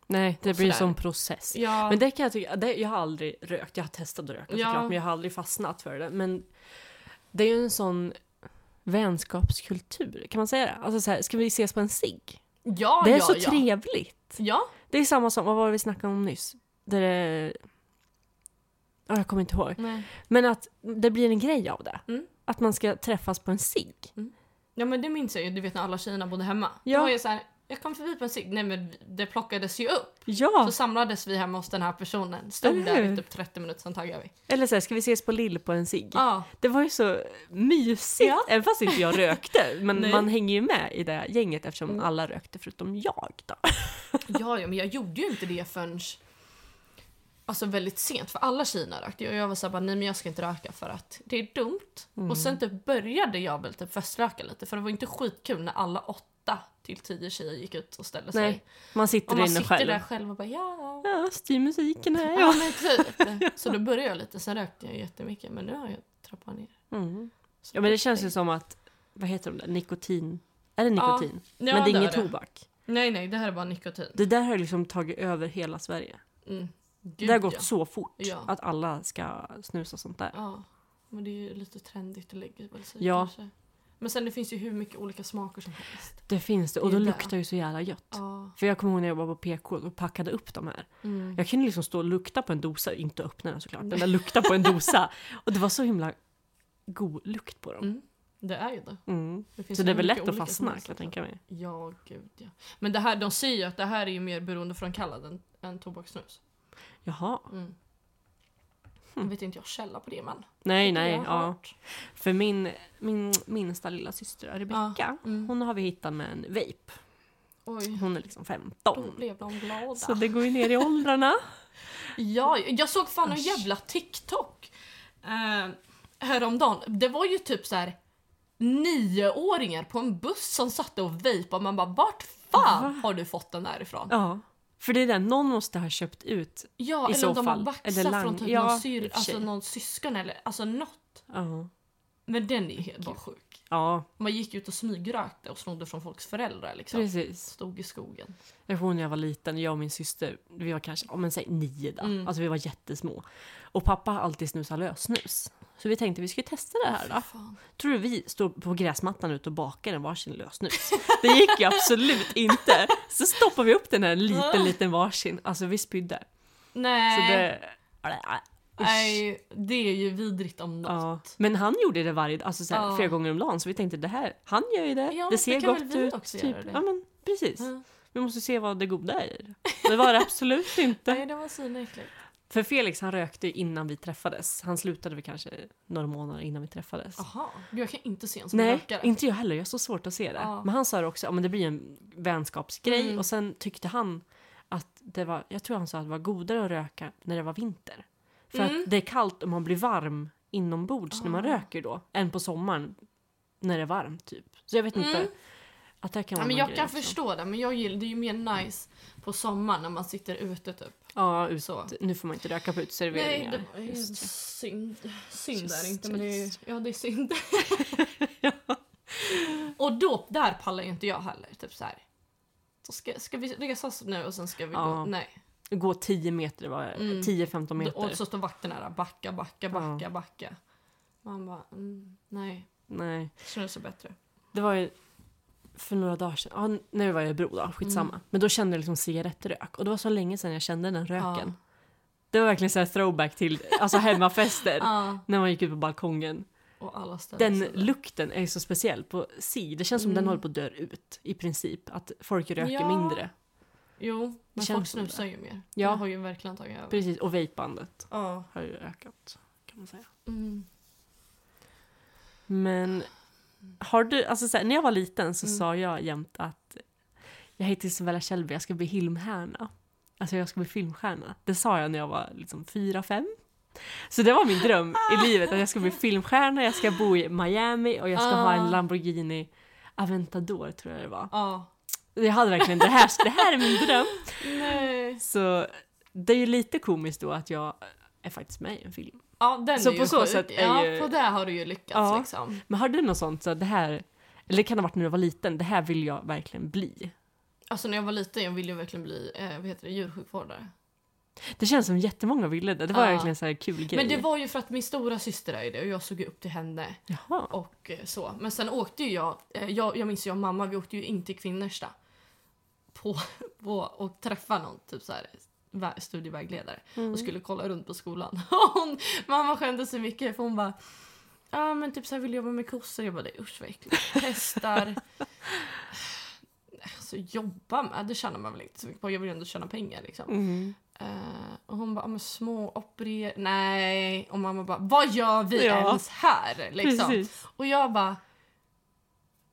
S1: Nej det
S2: Och
S1: blir ju
S2: sådär.
S1: som process.
S2: Ja,
S1: Men det kan jag tycka, det, jag har aldrig rökt. Jag har testat att röka
S2: Ja.
S1: såklart men jag har aldrig fastnat för det. Men det är ju en sån vänskapskultur, kan man säga det? Alltså såhär, ska vi ses på en cigg?
S2: ja,
S1: Det är
S2: ja,
S1: så
S2: ja.
S1: trevligt!
S2: Ja,
S1: Det är samma som, vad var det vi snackade om nyss? Där det... Ja, jag kommer inte ihåg.
S2: nej.
S1: Men att det blir en grej av det.
S2: Mm.
S1: Att man ska träffas på en cigg.
S2: ja, men det minns jag ju. Du vet när alla tjejerna bodde hemma.
S1: Ja.
S2: Då var jag så här, jag kom förbi på en cigg. Nej men det plockades ju upp.
S1: Ja!
S2: Så samlades vi hemma hos den här personen. Stod
S1: Eller
S2: där
S1: hur?
S2: i typ 30 minuter, sen taggade vi.
S1: Eller så här, ska vi ses på Lill på en cigg?
S2: Ja,
S1: Det var ju så mysigt,
S2: Ja.
S1: även fast inte jag rökte. Men
S2: Nej.
S1: man hänger ju med i det gänget eftersom
S2: Mm. Alltså.
S1: alla rökte förutom jag. Då.
S2: ja, ja, men jag gjorde ju inte det förrän alltså, väldigt sent. För alla tjejerna rökte ju och jag var såhär, bara, nej men jag ska inte röka för att det är dumt.
S1: Mm.
S2: Och sen typ började jag väl typ feströka lite för det var inte skitkul när alla åtta till tio tjejer gick ut och ställde sig.
S1: Nej, man sitter
S2: och man
S1: inne
S2: sitter
S1: själv.
S2: där själv och bara ja.
S1: Ja, styr musiken här. *laughs*
S2: Ja men typ. Så då började jag lite, sen rökte jag jättemycket men nu har jag trappat ner.
S1: Mm.
S2: Så
S1: Ja men det känns ju som att, vad heter de där, nikotin? Är det
S2: Ja.
S1: nikotin?
S2: Ja,
S1: men det är
S2: det
S1: ingen
S2: är det.
S1: tobak.
S2: Nej, nej, det här är bara nikotin.
S1: Det där har liksom tagit över hela Sverige.
S2: Mm. Gud,
S1: det har gått
S2: ja.
S1: så fort
S2: Ja.
S1: att alla ska snusa sånt där.
S2: Ja, men det är ju lite trendigt att lägga väl sig
S1: Ja.
S2: kanske. Men sen det finns ju hur mycket olika smaker som helst.
S1: Det finns det och
S2: Det
S1: då
S2: är det.
S1: luktar ju så jävla gött.
S2: Ja.
S1: För jag kommer ihåg när jag jobbade på PK och packade upp de här.
S2: Mm.
S1: Jag kunde liksom stå och lukta på en dosa, inte öppna den såklart, men jag lukta
S2: *laughs*
S1: på en dosa. Och det var så himla god lukt på dem.
S2: Mm. Det är ju det.
S1: Mm.
S2: det finns
S1: Så
S2: ju
S1: det är
S2: hur
S1: väl
S2: mycket
S1: lätt att
S2: olika som
S1: fastna
S2: helst
S1: kan jag tänka mig.
S2: Ja, gud ja. Men det här, de säger ju att det här är ju mer beroendeframkallande än, än tobakssnus.
S1: Jaha.
S2: Mm. Vet inte jag källa på det men.
S1: Nej,
S2: Det har
S1: nej.
S2: jag
S1: Ja.
S2: hört.
S1: För min, min minsta lilla syster Rebecka,
S2: Mm.
S1: hon har vi hittat med en vape.
S2: Oj,
S1: Hon är liksom
S2: då
S1: 15.
S2: blev de glada.
S1: Så det går ju ner i åldrarna.
S2: Ja, jag såg fan en
S1: Usch.
S2: jävla TikTok eh, häromdagen. Det var ju typ så här nioåringar på en buss som satt och vejpade och man bara vart fan
S1: Va?
S2: har du fått den där ifrån?
S1: Ja. För det är det, någon måste ha köpt ut.
S2: Ja,
S1: I
S2: eller
S1: så
S2: om de har
S1: fall.
S2: baxat
S1: Eller lang-
S2: från typ
S1: ja,
S2: någon,
S1: i
S2: syr,
S1: och för sig.
S2: alltså någon syskon eller alltså något.
S1: Ja.
S2: Men den är ju helt bara sjuk.
S1: Ja,
S2: Man gick ut och smygrökte och snodde från folks föräldrar liksom.
S1: precis.
S2: Stod i skogen.
S1: Jag kommer ihåg när jag var liten, jag och min syster, vi var kanske, ja men säg nio då.
S2: Mm.
S1: Alltså vi var jättesmå. Och pappa har alltid snusat lössnus. Så vi tänkte vi skulle testa det här då.
S2: Fan.
S1: Tror du vi stod på gräsmattan ute och bakade en varsin lösnus? Det gick ju absolut inte. Så stoppade vi upp den här liten, liten varsin. Alltså vi spydde.
S2: Nej,
S1: Så det... Usch.
S2: nej, det är ju vidrigt om något.
S1: Ja. Men han gjorde det varje, alltså såhär,
S2: Ja.
S1: flera gånger om dagen så vi tänkte det här, han gör ju det,
S2: Ja,
S1: det
S2: då
S1: ser
S2: kan
S1: gott
S2: väl vi
S1: ut.
S2: också
S1: typ.
S2: göra det.
S1: Ja men precis.
S2: Ja.
S1: Vi måste se vad det goda är i det. Det var det
S2: *laughs*
S1: absolut inte.
S2: Nej, det var svinäckligt.
S1: För Felix han rökte ju innan vi träffades. Han slutade väl kanske några månader innan vi träffades.
S2: Jaha, Gud, jag kan inte se en som
S1: Alltså. Nej,
S2: rökare.
S1: inte jag heller. Jag har så svårt att se det.
S2: Ja.
S1: Men han sa det också, ja men det blir en vänskapsgrej.
S2: Mm.
S1: Och sen tyckte han att det var, jag tror han sa att det var godare att röka när det var vinter. För
S2: Mm.
S1: att det är kallt och man blir varm inombords när man
S2: Ah.
S1: röker då. Än på sommaren när det är varmt typ. Så jag vet inte.
S2: Mm.
S1: Att det kan vara
S2: Ja, men
S1: någon
S2: jag
S1: grej liksom.
S2: kan
S1: också.
S2: förstå det, men jag gillar, det är ju mer nice på sommaren när man sitter ute typ.
S1: Ja, ut,
S2: Så.
S1: nu får man inte röka på
S2: Nej,
S1: uteserveringar.
S2: det var ju
S1: Just
S2: synd. Synd
S1: Just
S2: är det inte, men det är, ju-
S1: det.
S2: ja, det är synd. *laughs* Och då, där pallar ju inte jag heller. Typ så här. Så ska, ska vi resa oss nu och sen ska vi
S1: Ja,
S2: gå? Nej.
S1: Gå 10 meter, var det?
S2: Mm.
S1: 10-15 meter.
S2: Och så står vakten där, backa, backa, backa,
S1: Ja.
S2: backa. Man bara, mm, nej,
S1: Nej.
S2: snus är bättre.
S1: Det var ju för några dagar sedan, ja, när vi var i Örebro
S2: Mm.
S1: då, skitsamma. Men då kände jag liksom cigarettrök och det var så länge sedan jag kände den röken.
S2: Ja.
S1: Det var verkligen så här throwback till alltså hemmafester.
S2: *laughs* Ja,
S1: När man gick ut på balkongen.
S2: och alla ställer
S1: Den
S2: sig där.
S1: lukten är ju så speciell på si. Det känns som den
S2: Mm.
S1: håller på att dö ut i princip. Att folk röker
S2: Ja.
S1: mindre.
S2: Jo, men
S1: känns
S2: folk
S1: som
S2: snusar ju mer.
S1: Ja.
S2: Det har ju verkligen tagit över.
S1: Precis, och vejpandet
S2: Ja.
S1: har ju ökat. Kan man säga.
S2: Mm.
S1: Men har du, alltså så här, när jag var liten så
S2: Mm.
S1: sa jag jämt att jag heter Isabella Kjellberg, jag ska bli filmstjärna. Alltså jag ska bli filmstjärna. Det sa jag när jag var liksom fyra, fem. Så det var min dröm
S2: Ah.
S1: i livet, att jag ska bli filmstjärna, jag ska bo i Miami och jag ska ha en
S2: Ah.
S1: Lamborghini Aventador tror jag det var.
S2: Ja.
S1: Jag hade verkligen det här, det här är min dröm.
S2: Nej.
S1: Så det är ju lite komiskt då att jag är faktiskt med i en film.
S2: Ja, den
S1: Så
S2: är ju
S1: på så
S2: sjuk.
S1: sätt är
S2: ja,
S1: ju-
S2: på det har du ju lyckats
S1: Ja.
S2: liksom.
S1: Men har du något sånt, så det här, eller det kan ha varit när du var liten, det här vill jag verkligen bli?
S2: Alltså när jag var liten jag ville ju verkligen bli eh, vad heter det, djursjukvårdare.
S1: Det känns som jättemånga ville det. Det var
S2: Ja.
S1: verkligen en sån här kul grej.
S2: Men det var ju för att min stora syster är ju det och jag såg ju upp till henne
S1: Jaha.
S2: och eh, så. Men sen åkte ju jag, eh, jag, jag minns ju jag och mamma, vi åkte ju in till Kvinnersta på, *laughs* på, och träffade någon typ så här, vä- studievägledare.
S1: Mm.
S2: och skulle kolla runt på skolan. *laughs* Och hon, mamma skämdes så mycket för hon bara Ja men typ så här vill jag jobba med kossor. Jag bara det är usch vad äckligt. Hästar. *laughs* Alltså jobba med, det tjänar man väl inte så mycket på. Jag vill ju ändå tjäna pengar liksom.
S1: *laughs* Mm.
S2: Eh, och hon bara, "Ja, men små operer... Nej. Och mamma bara, vad gör vi
S1: Ja.
S2: ens här? Liksom.
S1: Precis.
S2: Och jag bara...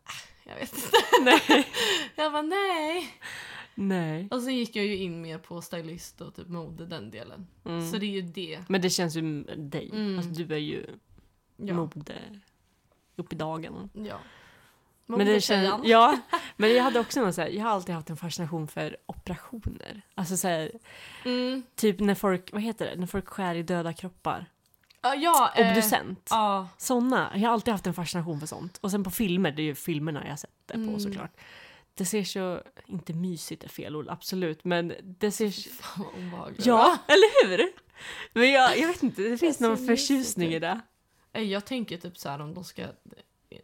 S2: "Ah, Jag vet inte. *laughs*
S1: Nej.
S2: Jag bara nej.
S1: Nej.
S2: Och sen gick jag ju in mer på stylist och typ mode den delen.
S1: Mm.
S2: Så det är ju det.
S1: Men det känns ju m- dig.
S2: Mm.
S1: Alltså, du är ju
S2: Ja.
S1: mode upp i dagen.
S2: Ja.
S1: Men det
S2: tjejan.
S1: känns,
S2: *laughs*
S1: ja, men jag hade också någon så här, jag har alltid haft en fascination för operationer. Alltså så här,
S2: Mm.
S1: typ när folk, vad heter det, när folk skär i döda kroppar.
S2: Ja, ja, eh,
S1: Obducent.
S2: Ja,
S1: Såna. Jag har alltid haft en fascination för sånt. Och sen på filmer, det är ju filmerna jag har sett det på
S2: Mm.
S1: såklart. Det ser så, inte mysigt är fel ord, absolut, men det ser...
S2: fan vad obehagligt.
S1: Ja, *laughs* eller hur? Men jag, jag vet inte, det finns
S2: ser
S1: någon
S2: mysigt
S1: förtjusning i
S2: ut.
S1: det.
S2: Eh, Jag tänker typ så här om de ska...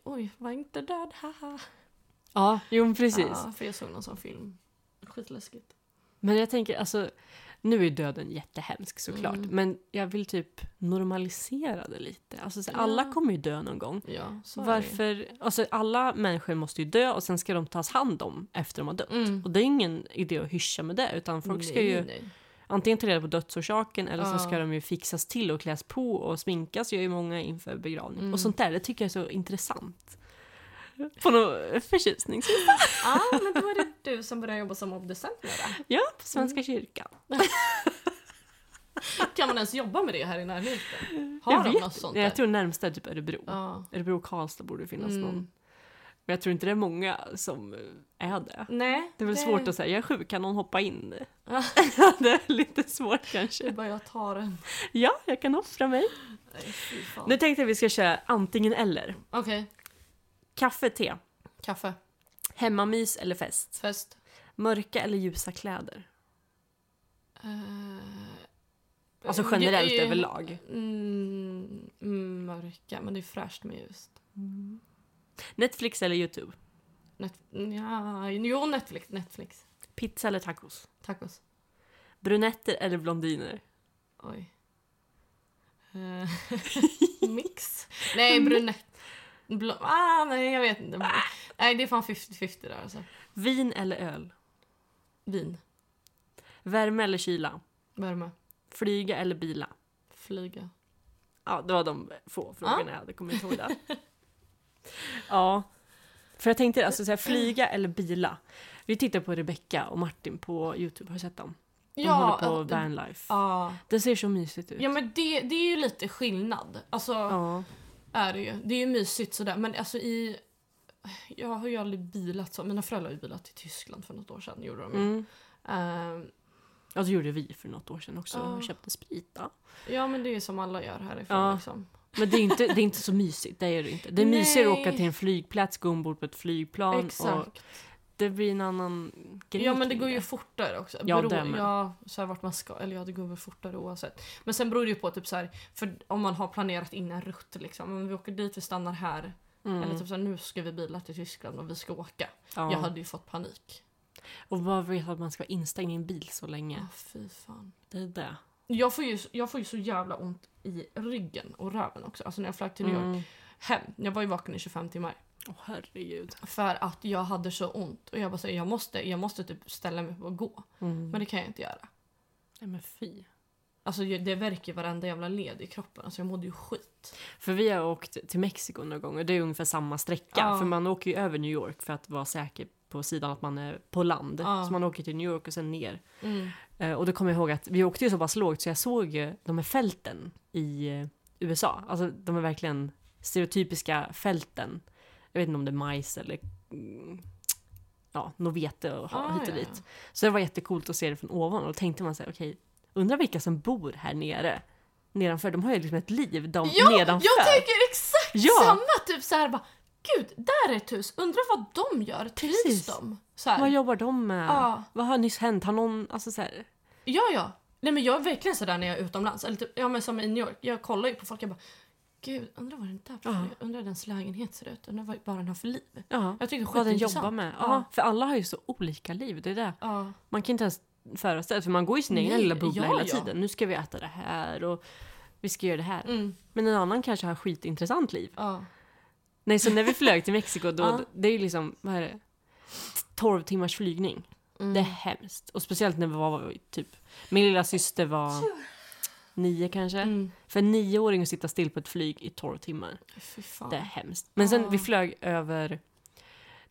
S2: Oj, var inte död, haha.
S1: Ja, jo men precis.
S2: Ja, för jag såg någon sån film. Skitläskigt.
S1: Men jag tänker, alltså, nu är döden jättehemsk såklart,
S2: Mm.
S1: men jag vill typ normalisera det lite. Alltså, så,
S2: Ja.
S1: alla kommer ju dö någon gång.
S2: Ja, så är det ju.
S1: Varför? Alltså, alla människor måste ju dö och sen ska de tas hand om efter de har dött.
S2: Mm.
S1: Och det är ingen idé att hyscha med det utan folk ska ju
S2: nej.
S1: antingen ta reda på dödsorsaken eller så
S2: Ja.
S1: ska de ju fixas till och kläs på och sminkas gör ju många inför begravning.
S2: Mm.
S1: Och sånt där, det tycker jag är så intressant. På någon förtjusning.
S2: Ah, men då är det du som börjar jobba som obducent med det.
S1: Ja, på Svenska
S2: Mm.
S1: kyrkan.
S2: Kan man ens jobba med det här i närheten? Har
S1: jag
S2: de
S1: vet
S2: något sånt
S1: inte. Jag
S2: där?
S1: tror närmsta är typ Örebro.
S2: Ja.
S1: Örebro och Karlstad borde det finnas
S2: Mm.
S1: någon. Men jag tror inte det är många som eh, är det.
S2: Nej.
S1: Det är väl svårt att säga, jag är sjuk, kan någon hoppa in?
S2: Ja.
S1: *laughs*
S2: Mm.
S1: det är lite svårt
S2: Det är
S1: kanske.
S2: bara jag tar en.
S1: Ja, jag kan offra mig.
S2: Nej, fy fan.
S1: Nu tänkte jag att vi ska köra antingen eller.
S2: Okej,
S1: Kaffe, te.
S2: kaffe,
S1: Hemmamys eller fest.
S2: fest.
S1: Mörka eller ljusa kläder.
S2: Eh,
S1: Alltså generellt
S2: eh,
S1: överlag.
S2: Mm, mm, mörka, men det är fräscht med ljust.
S1: Mm. Netflix eller YouTube.
S2: Net- ja, jo, Netflix, Netflix.
S1: Pizza eller tacos.
S2: Tacos.
S1: Brunetter eller blondiner.
S2: Oj. Eh, *laughs* mix?
S1: *laughs*
S2: Nej, brunett. Blå, ah, nej, jag vet inte. Nej, det är fan 50-50 där alltså.
S1: Vin eller öl.
S2: Vin,
S1: Värme eller kyla.
S2: värme,
S1: Flyga eller bila.
S2: flyga.
S1: Ja, det var de få frågorna jag hade kommit ihåg där. *laughs* ja. För jag tänkte alltså så här, flyga eller bila. Vi tittar på Rebecca och Martin på Youtube, har du sett dem? De håller på
S2: eh,
S1: vanlife.
S2: ja.
S1: Det ser så mysigt ut.
S2: ja, men det, det är ju lite skillnad. Alltså,
S1: Ja.
S2: är det ju. Det är ju mysigt sådär. Men alltså i... Jag har ju aldrig bilat så. Mina föräldrar har ju bilat till Tyskland för något år sedan. Gjorde de ju.
S1: Mm.
S2: Ehm,
S1: Ja, det gjorde vi för något år sedan också.
S2: Ja.
S1: Vi köpte sprit. Då.
S2: ja men det är ju som alla gör härifrån
S1: Ja.
S2: liksom.
S1: Men det är, inte, det är inte så mysigt. Det är det inte. Det är
S2: Nej.
S1: mysigare att åka till en flygplats, gå ombord på ett flygplan. Och
S2: Exakt.
S1: det blir en annan grej.
S2: Ja men det
S1: kring
S2: går ju fortare också.
S1: Ja,
S2: Bero,
S1: det med.
S2: ja, så här vart man ska. Eller ja det går väl fortare oavsett. Men sen beror det ju på typ så här, för om man har planerat in en rutt liksom. Om vi åker dit, vi stannar här.
S1: Mm.
S2: Eller typ så här, nu ska vi bila till Tyskland och vi ska åka.
S1: ja.
S2: Jag hade ju fått panik.
S1: Och bara veta att man ska vara instängd i en bil så länge.
S2: Ja, Ah, fy fan.
S1: Det är det.
S2: Jag får, ju, jag får ju så jävla ont i ryggen och röven också. Alltså när jag flög till New York
S1: Mm.
S2: hem. Jag var ju vaken i 25 timmar.
S1: Åh, herregud.
S2: För att jag hade så ont. Och jag bara säger jag måste, jag måste typ ställa mig upp och gå.
S1: Mm.
S2: Men det kan jag inte göra.
S1: Nej, men fy.
S2: Alltså jag- det verkar varenda jävla led i kroppen. Alltså jag mådde ju skit.
S1: För vi har åkt till Mexiko några gånger. Det är ungefär samma sträcka.
S2: Ja.
S1: För man åker ju över New York för att vara säker på sidan att man är på land.
S2: Ja.
S1: Så man åker till New York och sen ner.
S2: Mm.
S1: Eh, Och då kommer jag ihåg att vi åkte ju så pass lågt så jag såg ju de här fälten i eh, USA. Alltså de är verkligen stereotypiska fälten. Jag vet inte om det är majs eller mm, ja, något vete och ha,
S2: Ah,
S1: hit och
S2: ja,
S1: dit. Så det var jättecoolt att se det från ovan och då tänkte man sig okej, undrar vilka som bor här nere? Nedanför, de har ju liksom ett liv de
S2: Ja,
S1: nedanför.
S2: jag tänker exakt
S1: Ja.
S2: samma! Typ så här bara, gud där är ett hus. Undrar vad de gör. Trivs
S1: Precis.
S2: de? Så här.
S1: Vad jobbar de med?
S2: Ja.
S1: Vad har nyss hänt? Har någon, alltså så här,
S2: Ja, ja. Nej, men jag är verkligen sådär när jag är utomlands. Eller typ, ja, men som i New York. Jag kollar ju på folk. Jag bara, gud, undrar vad den där personen gör? Undrar hur dens lägenhet ser ut. Undrar vad vad den har för liv.
S1: ja,
S2: Jag tycker det Ah. är
S1: vad den
S2: skitintressant.
S1: jobbar med. Ja.
S2: Ja.
S1: För alla har ju så olika liv, det är det.
S2: Ja.
S1: Man kan inte ens föreställa sig, för man går i sin egen
S2: Nej,
S1: lilla bubbla
S2: ja,
S1: hela
S2: ja.
S1: tiden. Nu ska vi äta det här och vi ska göra det här.
S2: Mm,
S1: Men en annan kanske har skitintressant liv.
S2: ja.
S1: Nej, så när vi flög till Mexiko då,
S2: *laughs* Ja.
S1: det är ju liksom, vad är det? 12 timmars flygning.
S2: Mm.
S1: Det är hemskt. Och speciellt när vi var typ, min lilla syster var nio kanske.
S2: Mm.
S1: För en nioåring att sitta still på ett flyg i 12 timmar.
S2: Fy fan.
S1: Det är hemskt. Men sen
S2: Ja.
S1: vi flög över,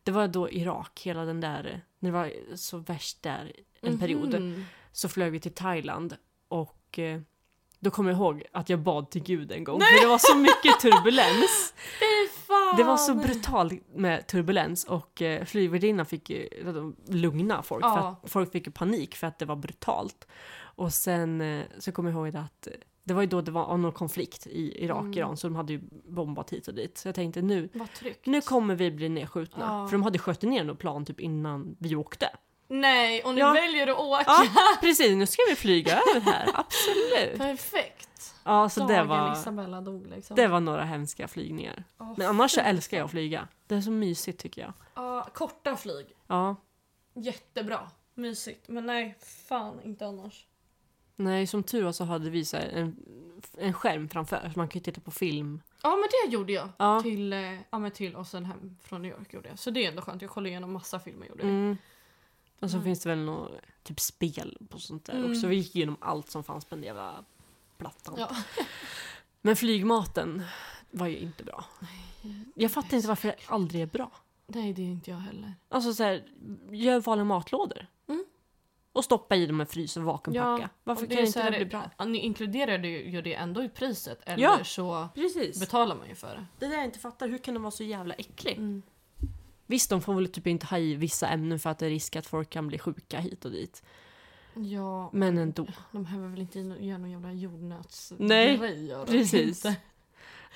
S1: det var då Irak, hela den där, när det var så värst där en period.
S2: Mhm.
S1: Så flög vi till Thailand och eh, då kommer jag ihåg att jag bad till gud en gång för det var så mycket turbulens.
S2: *laughs* Fy fan.
S1: Det var så brutalt med turbulens och eh, flygvärdinnan fick ju de lugna folk för
S2: Ja.
S1: att folk fick ju panik för att det var brutalt. Och sen eh, så kommer jag ihåg det att Det var ju då det var någon konflikt i Irak,
S2: Mm.
S1: Iran, så de hade ju bombat hit och dit. Så jag tänkte nu,
S2: Vad tryggt.
S1: nu kommer vi bli nedskjutna.
S2: Ja.
S1: För de hade skjutit ner något plan typ innan vi
S2: *laughs*
S1: åkte.
S2: Nej, och ni
S1: Ja.
S2: väljer att åka.
S1: Ja, precis. Nu ska vi flyga över här. Absolut.
S2: Perfekt.
S1: Ja, så det
S2: Dagen
S1: var,
S2: Isabella dog liksom.
S1: det var några hemska flygningar.
S2: Åh,
S1: Men annars så
S2: fy
S1: älskar jag
S2: fan.
S1: att flyga. Det är så mysigt tycker jag.
S2: Ja, korta flyg.
S1: Ja,
S2: Jättebra. Mysigt. Men nej, fan inte annars.
S1: nej som tur var så hade vi så här en, en skärm framför så man kan ju titta på film.
S2: Ja men det gjorde jag.
S1: Ja.
S2: Till, eh, ja, men till och sen hem från New York gjorde jag. Så det är ändå skönt. Jag kollade igenom massa filmer gjorde jag.
S1: Mm. Och så
S2: Mm.
S1: finns det väl något typ spel och sånt där
S2: Mm.
S1: också. Vi gick igenom allt som fanns på den jävla plattan.
S2: Ja.
S1: Men flygmaten var ju inte bra. Jag fattar inte varför det aldrig är bra.
S2: Nej det är inte jag heller.
S1: Alltså så här, gör vanliga matlådor.
S2: Mm.
S1: Och stoppa i dem en frys och vakuumpacka.
S2: Ja,
S1: Varför
S2: Och det
S1: kan
S2: är så
S1: inte
S2: här,
S1: det bli bra?
S2: ja, Ni inkluderade ju ju det ändå i priset. Eller
S1: Ja.
S2: så
S1: Precis.
S2: betalar man ju för det. Mm.
S1: Det där jag inte fattar, hur kan den vara så jävla äcklig? Mm. Visst, de får väl typ inte ha i vissa ämnen för att det är risk att folk kan bli sjuka hit och dit.
S2: Ja,
S1: Men
S2: *laughs*
S1: ändå.
S2: de behöver väl inte göra någon jävla
S1: Nej,
S2: jordnötsgrej? gör de
S1: Precis.
S2: inte.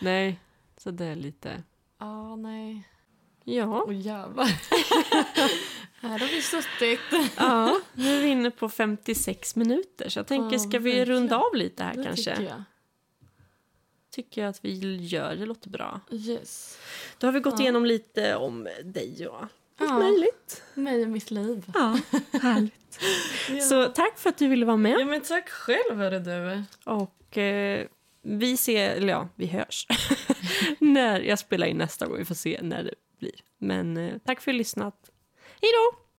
S1: Nej, så det är lite...
S2: Ja, nej.
S1: Ja. *laughs*
S2: Åh jävlar. Här har vi suttit.
S1: ja, nu är vi inne på 56 minuter så jag tänker
S2: Ja,
S1: ska vi
S2: verkligen.
S1: runda av lite här
S2: Det
S1: kanske?
S2: tycker
S1: Tycker jag.
S2: jag.
S1: att vi gör, det låter bra.
S2: Yes.
S1: Då har vi gått
S2: Ja.
S1: igenom lite om dig och allt
S2: Ja.
S1: möjligt.
S2: Mig och mitt liv.
S1: Ja, härligt. Så tack för att du ville vara med.
S2: Ja, men tack själv hörru du.
S1: Och eh, vi ser, eller ja, vi hörs. *laughs* när jag spelar in nästa gång, vi får se när det blir. Men eh, tack för att du lyssnat. Hej då!